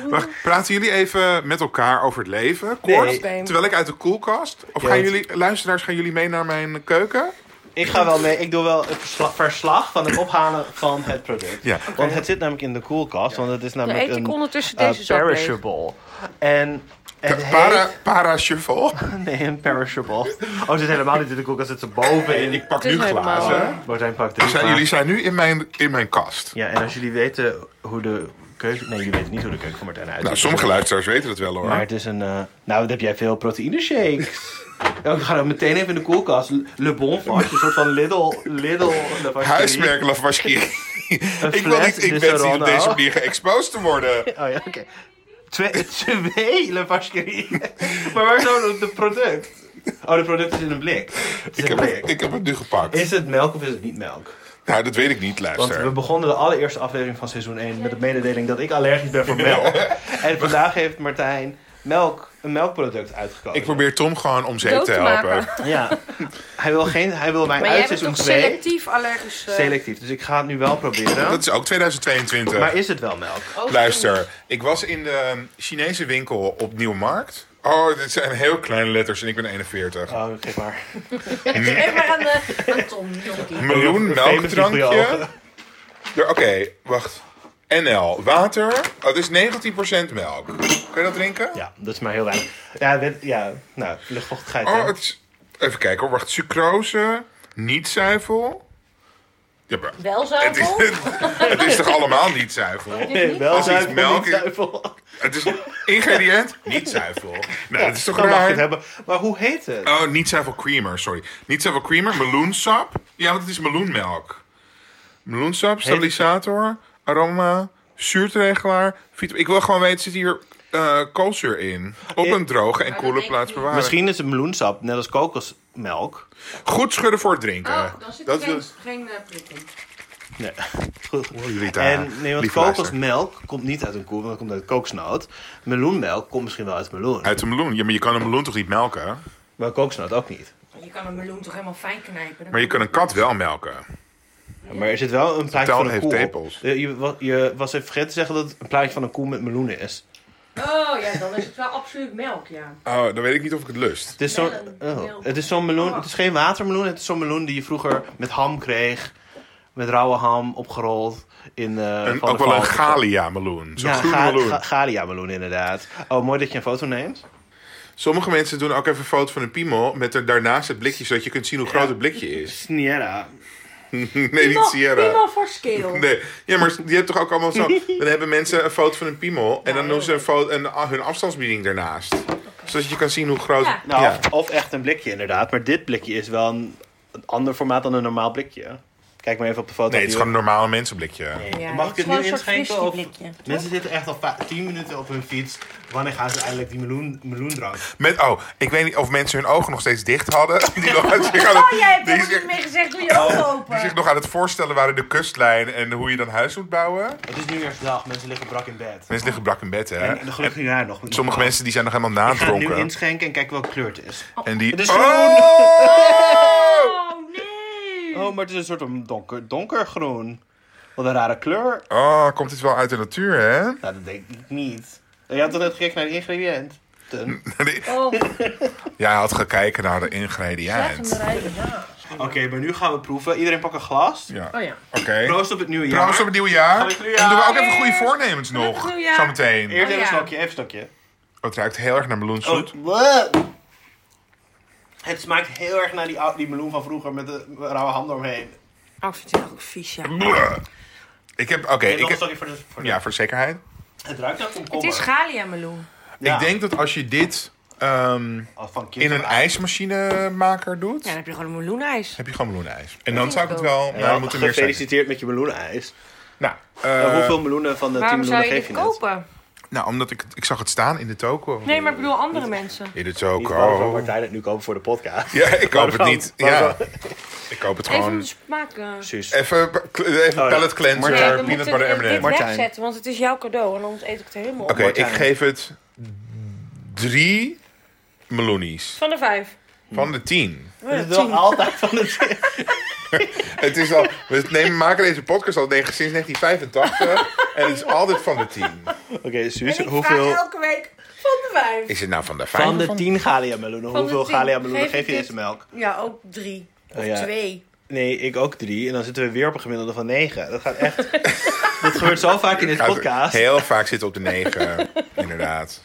[SPEAKER 3] Wacht, praten jullie even met elkaar over het leven? Kort,
[SPEAKER 2] Nee.
[SPEAKER 3] terwijl ik uit de koelkast. Of
[SPEAKER 1] Ja,
[SPEAKER 3] gaan
[SPEAKER 1] want-
[SPEAKER 3] jullie, luisteraars, gaan jullie mee naar mijn keuken?
[SPEAKER 1] Ik ga wel mee. Ik doe wel het versla- verslag van het ophalen van het product.
[SPEAKER 3] Ja.
[SPEAKER 1] Want het zit namelijk in de koelkast. Want het is namelijk
[SPEAKER 2] eet ik
[SPEAKER 1] een
[SPEAKER 2] ondertussen
[SPEAKER 1] eh,
[SPEAKER 2] deze zak leeg.
[SPEAKER 1] perishable. En het
[SPEAKER 3] Para,
[SPEAKER 1] heet... (laughs)
[SPEAKER 3] para shuffle.
[SPEAKER 1] Nee, een perishable. Oh, het zit helemaal niet in de koelkast. Het zit erboven in.
[SPEAKER 3] Ik pak
[SPEAKER 2] Het is
[SPEAKER 3] nu glazen.
[SPEAKER 2] helemaal-
[SPEAKER 1] Martijn pakt dit.
[SPEAKER 3] Zijn, jullie zijn nu in mijn, in mijn kast.
[SPEAKER 1] Ja, en als jullie weten hoe de keuken... Nee, jullie weten niet hoe de keuken van Martijn uitziet.
[SPEAKER 3] Nou, sommige luisteraars weten dat wel hoor.
[SPEAKER 1] Maar het is een... eh, nou, dan heb jij veel proteïne
[SPEAKER 3] (laughs)
[SPEAKER 1] shakes. ja, we gaan ook meteen even in de koelkast. Le Bon Vache, een soort van Lidl... Lidl
[SPEAKER 3] Huismerk Lavashkiri.
[SPEAKER 1] (laughs)
[SPEAKER 3] ik wil
[SPEAKER 1] fles,
[SPEAKER 3] niet, ik
[SPEAKER 1] dus
[SPEAKER 3] wens niet
[SPEAKER 1] Ronald.
[SPEAKER 3] op deze manier geëxposed te worden.
[SPEAKER 1] Oh ja, oké. Twee, (laughs) twee Le
[SPEAKER 3] (laughs)
[SPEAKER 1] Vacherie. maar waar is nou het product? Oh, de product is in een blik. Het is
[SPEAKER 3] Ik
[SPEAKER 1] een
[SPEAKER 3] heb,
[SPEAKER 1] blik.
[SPEAKER 3] het, ik heb het nu gepakt.
[SPEAKER 1] Is het melk of is het niet melk?
[SPEAKER 3] Nou, dat weet ik niet,
[SPEAKER 1] Want we
[SPEAKER 3] luister.
[SPEAKER 1] begonnen de allereerste aflevering van seizoen 1 met de mededeling dat ik allergisch ben
[SPEAKER 3] (laughs)
[SPEAKER 1] voor melk. en vandaag heeft Martijn melk, een melkproduct uitgekozen.
[SPEAKER 3] Ik probeer Tom gewoon om zeep
[SPEAKER 2] Dood
[SPEAKER 3] te
[SPEAKER 2] te
[SPEAKER 3] helpen.
[SPEAKER 2] maken.
[SPEAKER 1] Ja. Hij wil, geen, hij wil mij
[SPEAKER 2] Maar jij
[SPEAKER 1] uit
[SPEAKER 2] bent
[SPEAKER 1] seizoen
[SPEAKER 2] toch
[SPEAKER 1] 2.
[SPEAKER 2] selectief allergisch? eh,
[SPEAKER 1] Selectief. Dus ik ga het nu wel proberen.
[SPEAKER 3] Dat is ook 2022.
[SPEAKER 1] Maar is het wel melk?
[SPEAKER 2] oh, (laughs)
[SPEAKER 3] Luister, ik was in de Chinese winkel op Nieuwmarkt. Oh, dit zijn heel kleine letters en ik ben 41.
[SPEAKER 1] Oh, geef maar.
[SPEAKER 2] Geef maar aan, eh,
[SPEAKER 3] (laughs)
[SPEAKER 2] aan Tom. Jonkie.
[SPEAKER 3] Meloen,
[SPEAKER 1] Famous niet voor je
[SPEAKER 3] melkdrankje.
[SPEAKER 1] ogen.
[SPEAKER 3] Er- Oké, wacht. NL, water. Oh, het is 19% melk. Kun je dat drinken?
[SPEAKER 1] Ja, dat is maar heel weinig. Ja, dit- ja nou, luchtvochtigheid. hè.
[SPEAKER 3] Oh, het is- Even kijken hoor. Wacht, sucrose, niet zuivel. Ja, maar...
[SPEAKER 2] Wel
[SPEAKER 3] Het is,
[SPEAKER 2] zuivel?
[SPEAKER 3] (laughs) het is toch allemaal niet zuivel?
[SPEAKER 2] (laughs)
[SPEAKER 1] Nee, (laughs) wel
[SPEAKER 3] Als iets
[SPEAKER 1] zuivel,
[SPEAKER 3] melk
[SPEAKER 1] melk
[SPEAKER 3] is-
[SPEAKER 1] niet zuivel.
[SPEAKER 3] Het is ingrediënt, niet zuivel. Nou, dat is toch
[SPEAKER 1] Dan mag je het
[SPEAKER 3] raar?
[SPEAKER 1] hebben. Maar hoe heet het?
[SPEAKER 3] Oh, niet zoveel creamer, sorry. Niet zoveel creamer, meloensap. Ja, want het is meloenmelk. Meloensap, stabilisator, aroma, zuurtregelaar. vit- Ik wil gewoon weten, zit hier eh, koolzuur in? Op een droge en koele
[SPEAKER 2] Oh, denk ik
[SPEAKER 3] plaats
[SPEAKER 2] niet.
[SPEAKER 3] bewaren.
[SPEAKER 1] Misschien is het meloensap, net als kokosmelk.
[SPEAKER 3] Goed schudden voor het drinken.
[SPEAKER 2] Oh, dan zit er
[SPEAKER 3] dat
[SPEAKER 2] geen,
[SPEAKER 3] is
[SPEAKER 2] geen eh, prik in.
[SPEAKER 1] Nee, goed.
[SPEAKER 3] Rita,
[SPEAKER 1] En nee, want
[SPEAKER 3] lieve luisteraar.
[SPEAKER 1] kokosmelk komt niet uit een koe, want dat komt uit kokosnoot. Meloenmelk komt misschien wel uit meloen,
[SPEAKER 3] uit de meloen. Ja, maar je kan een meloen toch niet melken?
[SPEAKER 1] maar kokosnoot ook niet.
[SPEAKER 2] Je kan een meloen toch helemaal fijn knijpen?
[SPEAKER 3] Maar je kan een kat wel melken.
[SPEAKER 1] Maar er zit wel een plaatje
[SPEAKER 3] taal
[SPEAKER 1] van een
[SPEAKER 3] heeft
[SPEAKER 1] koe. op.
[SPEAKER 3] tepels.
[SPEAKER 1] Eh, Je, wa- je was even vergeten te zeggen dat het een plaatje van een koe met meloenen is.
[SPEAKER 2] Oh ja, dan is het wel absoluut melk, ja.
[SPEAKER 3] Oh, dan weet ik niet of ik het lust.
[SPEAKER 1] Het is zo'n
[SPEAKER 2] Melon,
[SPEAKER 1] oh,
[SPEAKER 2] melk.
[SPEAKER 1] het is zo'n meloen, het is geen watermeloen, het is zo'n meloen die je vroeger met ham kreeg. Met rauwe ham opgerold in eh,
[SPEAKER 3] Een,
[SPEAKER 1] van
[SPEAKER 3] ook
[SPEAKER 1] de
[SPEAKER 3] wel een
[SPEAKER 1] Valk.
[SPEAKER 3] galia meloen. Zo'n
[SPEAKER 1] Ja,
[SPEAKER 3] groene
[SPEAKER 1] ga,
[SPEAKER 3] meloen.
[SPEAKER 1] ga, Galia meloen inderdaad. Oh, mooi dat je een foto neemt.
[SPEAKER 3] Sommige mensen doen ook even een foto van een piemel met er daarnaast het blikje, zodat je kunt zien hoe groot het blikje is.
[SPEAKER 1] Sniera.
[SPEAKER 3] Nee, niet Sierra.
[SPEAKER 2] Iemand voor scale.
[SPEAKER 3] Nee, ja, maar die hebben toch ook allemaal
[SPEAKER 2] (laughs)
[SPEAKER 3] zo. Dan hebben mensen een foto van een piemel en dan doen ze een foto en hun afstandsbediening daarnaast. Zodat je kan zien hoe groot.
[SPEAKER 2] Ja.
[SPEAKER 1] Nou,
[SPEAKER 3] Ja.
[SPEAKER 1] Of, of echt een blikje inderdaad. Maar dit blikje is wel een, een ander formaat dan een normaal blikje. Kijk maar even op de foto.
[SPEAKER 3] Nee, het is gewoon een normale mensenblikje.
[SPEAKER 2] Ja,
[SPEAKER 1] Mag
[SPEAKER 2] het
[SPEAKER 1] ik
[SPEAKER 2] is
[SPEAKER 1] het nu
[SPEAKER 2] gewoon een soort
[SPEAKER 1] inschenken? Of...
[SPEAKER 2] frisbee-blikje, toch?
[SPEAKER 1] Mensen zitten echt al 10 minuten op hun fiets. Wanneer gaan ze eindelijk die meloen, meloendrank?
[SPEAKER 3] Met, oh, ik weet niet of mensen hun ogen nog steeds dicht hadden. (laughs) Die, nog aan- zich
[SPEAKER 2] (laughs)
[SPEAKER 3] aan
[SPEAKER 2] Oh, jij hebt
[SPEAKER 3] het, die,
[SPEAKER 2] helemaal
[SPEAKER 3] zich,
[SPEAKER 2] niet meer gezegd, doe je ogen
[SPEAKER 3] die zich
[SPEAKER 2] open.
[SPEAKER 3] nog aan het voorstellen waren de kustlijn en hoe je dan huis moet bouwen.
[SPEAKER 1] Het is nu eerst dag, mensen liggen brak in bed.
[SPEAKER 3] Mensen liggen brak in bed, hè?
[SPEAKER 1] En de gelukkig jaar nog.
[SPEAKER 3] Sommige mensen die zijn nog helemaal
[SPEAKER 1] Ik ga het nu
[SPEAKER 3] nadronken.
[SPEAKER 1] inschenken en kijken welke kleur het is.
[SPEAKER 3] En die.
[SPEAKER 1] Het is
[SPEAKER 3] Oh!
[SPEAKER 2] Oh nee.
[SPEAKER 1] Oh, maar het is een soort van donker, donkergroen. Wat een rare kleur.
[SPEAKER 3] Oh, komt dit wel uit de natuur, hè? (laughs)
[SPEAKER 1] Nou, dat denk ik niet. Je had toch net gekeken naar de ingrediënten? Oké,
[SPEAKER 2] Oh,
[SPEAKER 3] Jij had gaan kijken naar de
[SPEAKER 2] echt een
[SPEAKER 3] ingrediënt.
[SPEAKER 2] rijden.
[SPEAKER 1] maar nu gaan we proeven. Iedereen pak een glas.
[SPEAKER 3] Ja.
[SPEAKER 2] Oh ja.
[SPEAKER 3] Oké.
[SPEAKER 1] Proost op het nieuwe jaar.
[SPEAKER 3] Proost op het nieuwe jaar.
[SPEAKER 1] Gelukkig nieuwjaar.
[SPEAKER 3] En doen we ook even goede voornemens nog.
[SPEAKER 2] Gelukkig nieuwjaar.
[SPEAKER 3] Zometeen.
[SPEAKER 1] Eerst
[SPEAKER 2] Oh,
[SPEAKER 1] even
[SPEAKER 2] ja.
[SPEAKER 1] een slokje, even een slokje.
[SPEAKER 3] Oh, het ruikt heel erg naar meloensoep.
[SPEAKER 1] bleh. Oh, Het smaakt heel erg naar die, ou- die meloen van vroeger met de rauwe ham eromheen.
[SPEAKER 2] Oh, ik vind het ook vies, ja.
[SPEAKER 3] Bleh. Ik heb, oké,
[SPEAKER 1] En
[SPEAKER 3] ik
[SPEAKER 1] nog een
[SPEAKER 3] heb,
[SPEAKER 1] slokje voor de... Voor de-
[SPEAKER 3] ja, voor zekerheid.
[SPEAKER 1] Het ruikt naar
[SPEAKER 2] Het
[SPEAKER 1] komkommer.
[SPEAKER 2] is galia meloen.
[SPEAKER 1] Ja.
[SPEAKER 3] Ik denk dat als je dit ehm,
[SPEAKER 1] Als Van kind
[SPEAKER 3] in een ijsmachinemaker doet,
[SPEAKER 2] Ja, dan heb je gewoon een meloenijs.
[SPEAKER 3] heb je gewoon meloenijs. En dan zou ik het wel, nou,
[SPEAKER 1] Ja,
[SPEAKER 3] dan moet er meer zijn.
[SPEAKER 1] gefeliciteerd met je meloenijs.
[SPEAKER 3] Nou,
[SPEAKER 1] Eh,
[SPEAKER 3] eh,
[SPEAKER 1] hoeveel meloenen van de 10
[SPEAKER 2] Waarom zou
[SPEAKER 1] meloenen
[SPEAKER 2] je
[SPEAKER 1] geef
[SPEAKER 2] dit
[SPEAKER 1] je net?
[SPEAKER 2] kopen?
[SPEAKER 3] nou, omdat ik, het- ik zag het staan in de toko.
[SPEAKER 2] Nee, maar ik bedoel andere mensen.
[SPEAKER 3] In de
[SPEAKER 1] Niet waarom zou
[SPEAKER 3] toko.
[SPEAKER 1] Martijn het nu kopen voor de podcast.
[SPEAKER 3] Ja, ik koop het
[SPEAKER 1] Waarom?
[SPEAKER 3] niet. Ja,
[SPEAKER 1] Waarom?
[SPEAKER 3] ik koop het
[SPEAKER 2] Even om
[SPEAKER 3] gewoon.
[SPEAKER 2] de smaak... eh,
[SPEAKER 1] Precies.
[SPEAKER 3] Even, pa- kle- even
[SPEAKER 1] Oh,
[SPEAKER 3] pallet cleanser,
[SPEAKER 1] Martijn.
[SPEAKER 2] Nee, we
[SPEAKER 3] peanut
[SPEAKER 2] moeten
[SPEAKER 3] butter
[SPEAKER 2] dit
[SPEAKER 3] M&M. Oké,
[SPEAKER 1] Martijn.
[SPEAKER 2] wegzetten, want het is jouw cadeau. En anders eet ik het er helemaal op.
[SPEAKER 3] ik
[SPEAKER 1] Martijn.
[SPEAKER 3] geef het drie meloenies
[SPEAKER 2] Van de vijf.
[SPEAKER 3] van de tien.
[SPEAKER 2] Oh, ja,
[SPEAKER 1] Het is wel
[SPEAKER 2] tien.
[SPEAKER 1] altijd van
[SPEAKER 2] (laughs)
[SPEAKER 1] de
[SPEAKER 3] Het is al, we (laughs) nemen, maken deze podcast al negen- sinds 1985 en het is altijd van de tien.
[SPEAKER 1] Oké,
[SPEAKER 2] En
[SPEAKER 1] Suus,
[SPEAKER 2] ik
[SPEAKER 1] hoeveel...
[SPEAKER 2] vraag elke week van de vijf.
[SPEAKER 3] Is het nou van de vijf?
[SPEAKER 1] Van
[SPEAKER 3] of
[SPEAKER 1] de 10 Galia meloenen,
[SPEAKER 2] Van de
[SPEAKER 1] hoeveel
[SPEAKER 2] tien.
[SPEAKER 1] Galia meloenen
[SPEAKER 2] Geef
[SPEAKER 1] geef je
[SPEAKER 2] ik
[SPEAKER 1] deze
[SPEAKER 2] dit?
[SPEAKER 1] melk?
[SPEAKER 2] Ja, ook drie. Of
[SPEAKER 1] Oh, ja.
[SPEAKER 2] twee.
[SPEAKER 1] Nee, ik ook drie. En dan zitten we weer op een gemiddelde van negen. Dat gaat echt.
[SPEAKER 3] (laughs)
[SPEAKER 1] dat gebeurt zo vaak in deze
[SPEAKER 3] Gaat-
[SPEAKER 1] podcast. Oké,
[SPEAKER 3] Heel vaak zitten op de negen, inderdaad.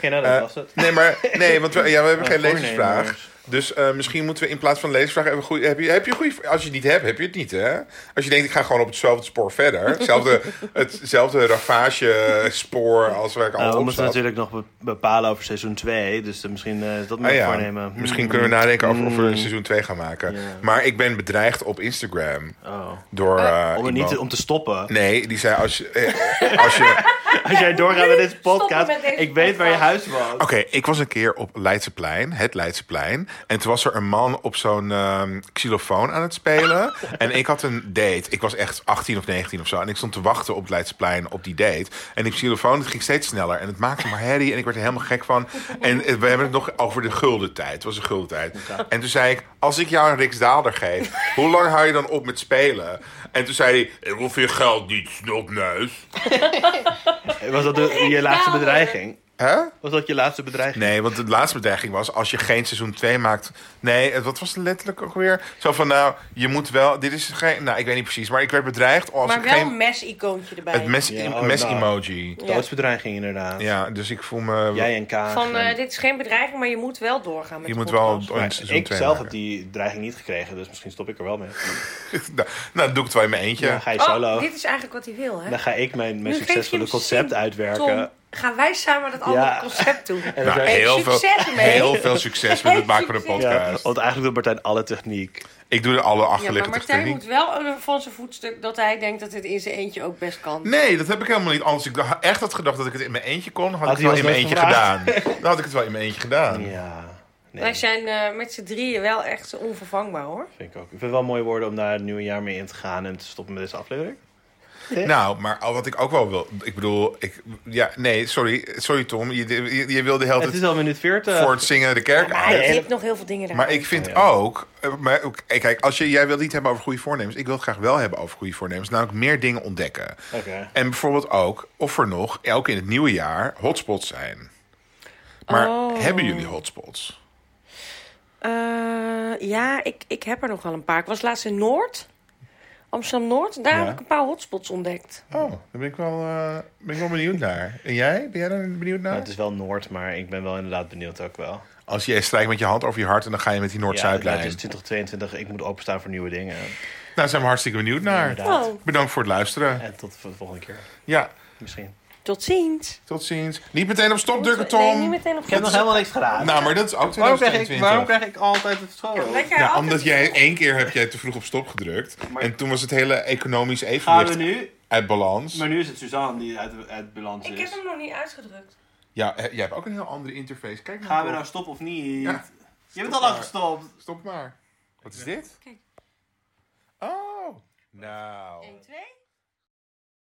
[SPEAKER 1] nou dat was het.
[SPEAKER 3] Nee, maar, nee want we, ja, we hebben Eh, geen
[SPEAKER 1] Voornemers.
[SPEAKER 3] lezersvraag. Dus eh, misschien moeten we in plaats van leesvragen even goed. Heb je, heb je een goede, als je het niet hebt, heb je het niet. Hè? Als je denkt, ik ga gewoon op hetzelfde spoor verder. Hetzelfde, hetzelfde ravage spoor als waar ik al
[SPEAKER 1] Eh, we
[SPEAKER 3] op
[SPEAKER 1] moeten
[SPEAKER 3] zat.
[SPEAKER 1] natuurlijk nog be- bepalen over seizoen 2. Dus eh, misschien eh, is dat
[SPEAKER 3] Ah
[SPEAKER 1] maar
[SPEAKER 3] ja,
[SPEAKER 1] voornemen.
[SPEAKER 3] Misschien
[SPEAKER 1] Mm.
[SPEAKER 3] kunnen we nadenken over of we een seizoen 2 gaan maken. Maar ik ben bedreigd op Instagram
[SPEAKER 1] Oh.
[SPEAKER 3] door. eh,
[SPEAKER 1] Om, het
[SPEAKER 3] iemand.
[SPEAKER 1] niet te, om te stoppen.
[SPEAKER 3] Nee, die zei als je. eh, als je
[SPEAKER 1] (laughs) Als jij doorgaat met deze
[SPEAKER 2] (laughs) Stoppen
[SPEAKER 1] podcast,
[SPEAKER 2] met deze
[SPEAKER 1] ik weet waar je huis woont.
[SPEAKER 3] Oké, ik was een keer op Leidseplein, het Leidseplein. En toen was er een man op zo'n ehm xylofoon aan het spelen. en ik had een date. Ik was echt 18 of 19 of zo. En ik stond te wachten op het Leidseplein op die date. En die xylofoon het ging steeds sneller. En het maakte maar herrie. En ik werd er helemaal gek van. En eh, we hebben het nog over de gulden tijd. Het was een gulden tijd. En toen zei ik, als ik jou een Riksdaalder geef... hoe lang hou je dan op met spelen? En toen zei hij, ik hoef je geld niet, snotneus. Oh.
[SPEAKER 1] (laughs) Was dat de- je laatste bedreiging?
[SPEAKER 3] Hè?
[SPEAKER 1] Was dat je laatste bedreiging?
[SPEAKER 3] Nee, want de laatste bedreiging was als je geen seizoen 2 maakt. Nee, het- wat was het letterlijk ook weer? Zo van nou, je moet wel. Dit is geen. Nou, ik weet niet precies, maar ik werd bedreigd als
[SPEAKER 2] Maar
[SPEAKER 3] ik
[SPEAKER 2] wel een
[SPEAKER 3] geen.
[SPEAKER 2] mes-icoontje erbij.
[SPEAKER 3] Het mes,
[SPEAKER 1] Ja, oh,
[SPEAKER 3] mes
[SPEAKER 1] nou.
[SPEAKER 3] emoji.
[SPEAKER 2] Ja.
[SPEAKER 1] Doodsbedreiging inderdaad.
[SPEAKER 3] Ja, dus ik voel me.
[SPEAKER 1] Jij en Kaag.
[SPEAKER 2] Van
[SPEAKER 1] en-
[SPEAKER 2] eh, dit is geen bedreiging, maar je moet wel doorgaan met
[SPEAKER 3] je
[SPEAKER 2] de
[SPEAKER 3] moet wel
[SPEAKER 2] podcast.
[SPEAKER 3] een
[SPEAKER 1] Maar
[SPEAKER 3] seizoen
[SPEAKER 1] ik
[SPEAKER 3] 2
[SPEAKER 1] zelf heb
[SPEAKER 3] maken.
[SPEAKER 1] die dreiging niet gekregen, dus misschien stop ik er wel mee.
[SPEAKER 3] (laughs) nou, nou, doe ik het wel in mijn eentje.
[SPEAKER 1] Dan ga je
[SPEAKER 2] Oh,
[SPEAKER 1] solo.
[SPEAKER 2] dit is eigenlijk wat hij wil, hè?
[SPEAKER 1] Dan ga ik mijn, mijn
[SPEAKER 2] Nu geef je
[SPEAKER 1] succesvolle
[SPEAKER 2] hem Nou,
[SPEAKER 1] concept
[SPEAKER 2] zin.
[SPEAKER 1] uitwerken.
[SPEAKER 2] Tom, gaan wij samen dat andere
[SPEAKER 1] Ja.
[SPEAKER 2] concept
[SPEAKER 3] (laughs)
[SPEAKER 2] doen?
[SPEAKER 1] En dan
[SPEAKER 3] Nou,
[SPEAKER 1] zeg ik-
[SPEAKER 3] heel, veel,
[SPEAKER 2] succes ermee.
[SPEAKER 3] heel veel succes
[SPEAKER 2] (laughs)
[SPEAKER 3] met het
[SPEAKER 2] Heel
[SPEAKER 3] maken van een
[SPEAKER 2] succes.
[SPEAKER 1] ja,
[SPEAKER 3] podcast.
[SPEAKER 1] want eigenlijk doet Martijn alle techniek.
[SPEAKER 3] Ik doe er alle
[SPEAKER 2] Ja, maar
[SPEAKER 3] achterliggende
[SPEAKER 2] Martijn
[SPEAKER 3] techniek.
[SPEAKER 2] moet wel eh, van zijn voetstuk dat hij denkt dat dit in zijn eentje ook best kan.
[SPEAKER 3] Nee, dat heb ik helemaal niet. Als ik dacht- echt had gedacht dat ik het in mijn eentje kon, had, ik
[SPEAKER 1] hij
[SPEAKER 3] het wel in
[SPEAKER 1] ons
[SPEAKER 3] mijn eentje
[SPEAKER 1] nooit
[SPEAKER 3] gedaan.
[SPEAKER 1] (laughs)
[SPEAKER 3] Dan had ik het wel in mijn eentje gedaan.
[SPEAKER 1] Ja, nee,
[SPEAKER 2] Wij zijn eh, met z'n drieën wel echt onvervangbaar, hoor.
[SPEAKER 1] vind ik ook. Ik vind het wel mooie woorden om daar het nieuwe jaar mee in te gaan en te stoppen met deze aflevering.
[SPEAKER 3] Nou, maar al wat ik ook wel wil. Ik bedoel, ik, ja, nee, sorry, sorry Tom. Je, je, je wilde de hele
[SPEAKER 1] Het is eh,
[SPEAKER 3] tijd
[SPEAKER 1] al minuut 40.
[SPEAKER 3] voor het zingen de kerk
[SPEAKER 2] Maar je
[SPEAKER 3] uit.
[SPEAKER 2] hebt nog heel veel dingen daar.
[SPEAKER 3] Maar ik vind ook, eh, maar ook- eh, kijk, als je, jij wil het niet hebben over goede voornemens, ik wil het graag wel hebben over goede voornemens, namelijk meer dingen ontdekken.
[SPEAKER 1] Oké.
[SPEAKER 3] En bijvoorbeeld ook, of er nog, eh, ook in het nieuwe jaar, hotspots zijn. Maar
[SPEAKER 2] Oh.
[SPEAKER 3] hebben jullie hotspots?
[SPEAKER 2] Eh, ja, ik, ik heb er nog wel een paar. Ik was laatst in Noord, Amsterdam-Noord. Daar
[SPEAKER 3] Ja.
[SPEAKER 2] heb ik een paar hotspots ontdekt.
[SPEAKER 3] Oh, daar ben ik wel, eh, ben ik wel benieuwd naar. En jij? Ben jij daar benieuwd
[SPEAKER 1] Nou,
[SPEAKER 3] naar?
[SPEAKER 1] het is wel Noord, maar ik ben wel inderdaad benieuwd ook wel.
[SPEAKER 3] Als jij strijkt met je hand over je hart en dan ga je met die Noord-Zuidlijn.
[SPEAKER 1] Ja, het is 2022, ik moet openstaan voor nieuwe dingen.
[SPEAKER 3] Nou, zijn we hartstikke benieuwd naar.
[SPEAKER 1] Inderdaad.
[SPEAKER 2] Oh.
[SPEAKER 3] Bedankt voor het luisteren.
[SPEAKER 1] En tot de volgende keer,
[SPEAKER 3] Ja,
[SPEAKER 1] misschien.
[SPEAKER 2] Tot ziens.
[SPEAKER 3] tot ziens. Niet meteen op stop drukken, Tom.
[SPEAKER 2] Nee, niet meteen op
[SPEAKER 1] Ik heb nog helemaal niks gedaan.
[SPEAKER 3] Nou, maar dat is ook
[SPEAKER 1] waarom, krijg
[SPEAKER 3] 2022.
[SPEAKER 1] ik, waarom krijg ik altijd het school?
[SPEAKER 2] Omdat jij
[SPEAKER 3] nou,
[SPEAKER 2] altijd-
[SPEAKER 3] omdat jij één keer heb jij te vroeg op stop gedrukt. En toen was het hele economisch
[SPEAKER 1] Gaan we
[SPEAKER 3] evenwicht
[SPEAKER 1] nu?
[SPEAKER 3] uit balans.
[SPEAKER 1] Maar nu is het Suzanne die uit, uit balans
[SPEAKER 2] Ik heb
[SPEAKER 1] is.
[SPEAKER 2] hem nog niet uitgedrukt.
[SPEAKER 3] Ja, hè, jij hebt ook een heel andere interface. Kijk maar.
[SPEAKER 1] Gaan we
[SPEAKER 3] Tom.
[SPEAKER 1] nou stoppen of niet?
[SPEAKER 3] Ja.
[SPEAKER 1] Je bent al lang gestopt.
[SPEAKER 3] Stop maar. Wat is dit?
[SPEAKER 2] Kijk.
[SPEAKER 3] Oh. Nou.
[SPEAKER 2] 1, 2...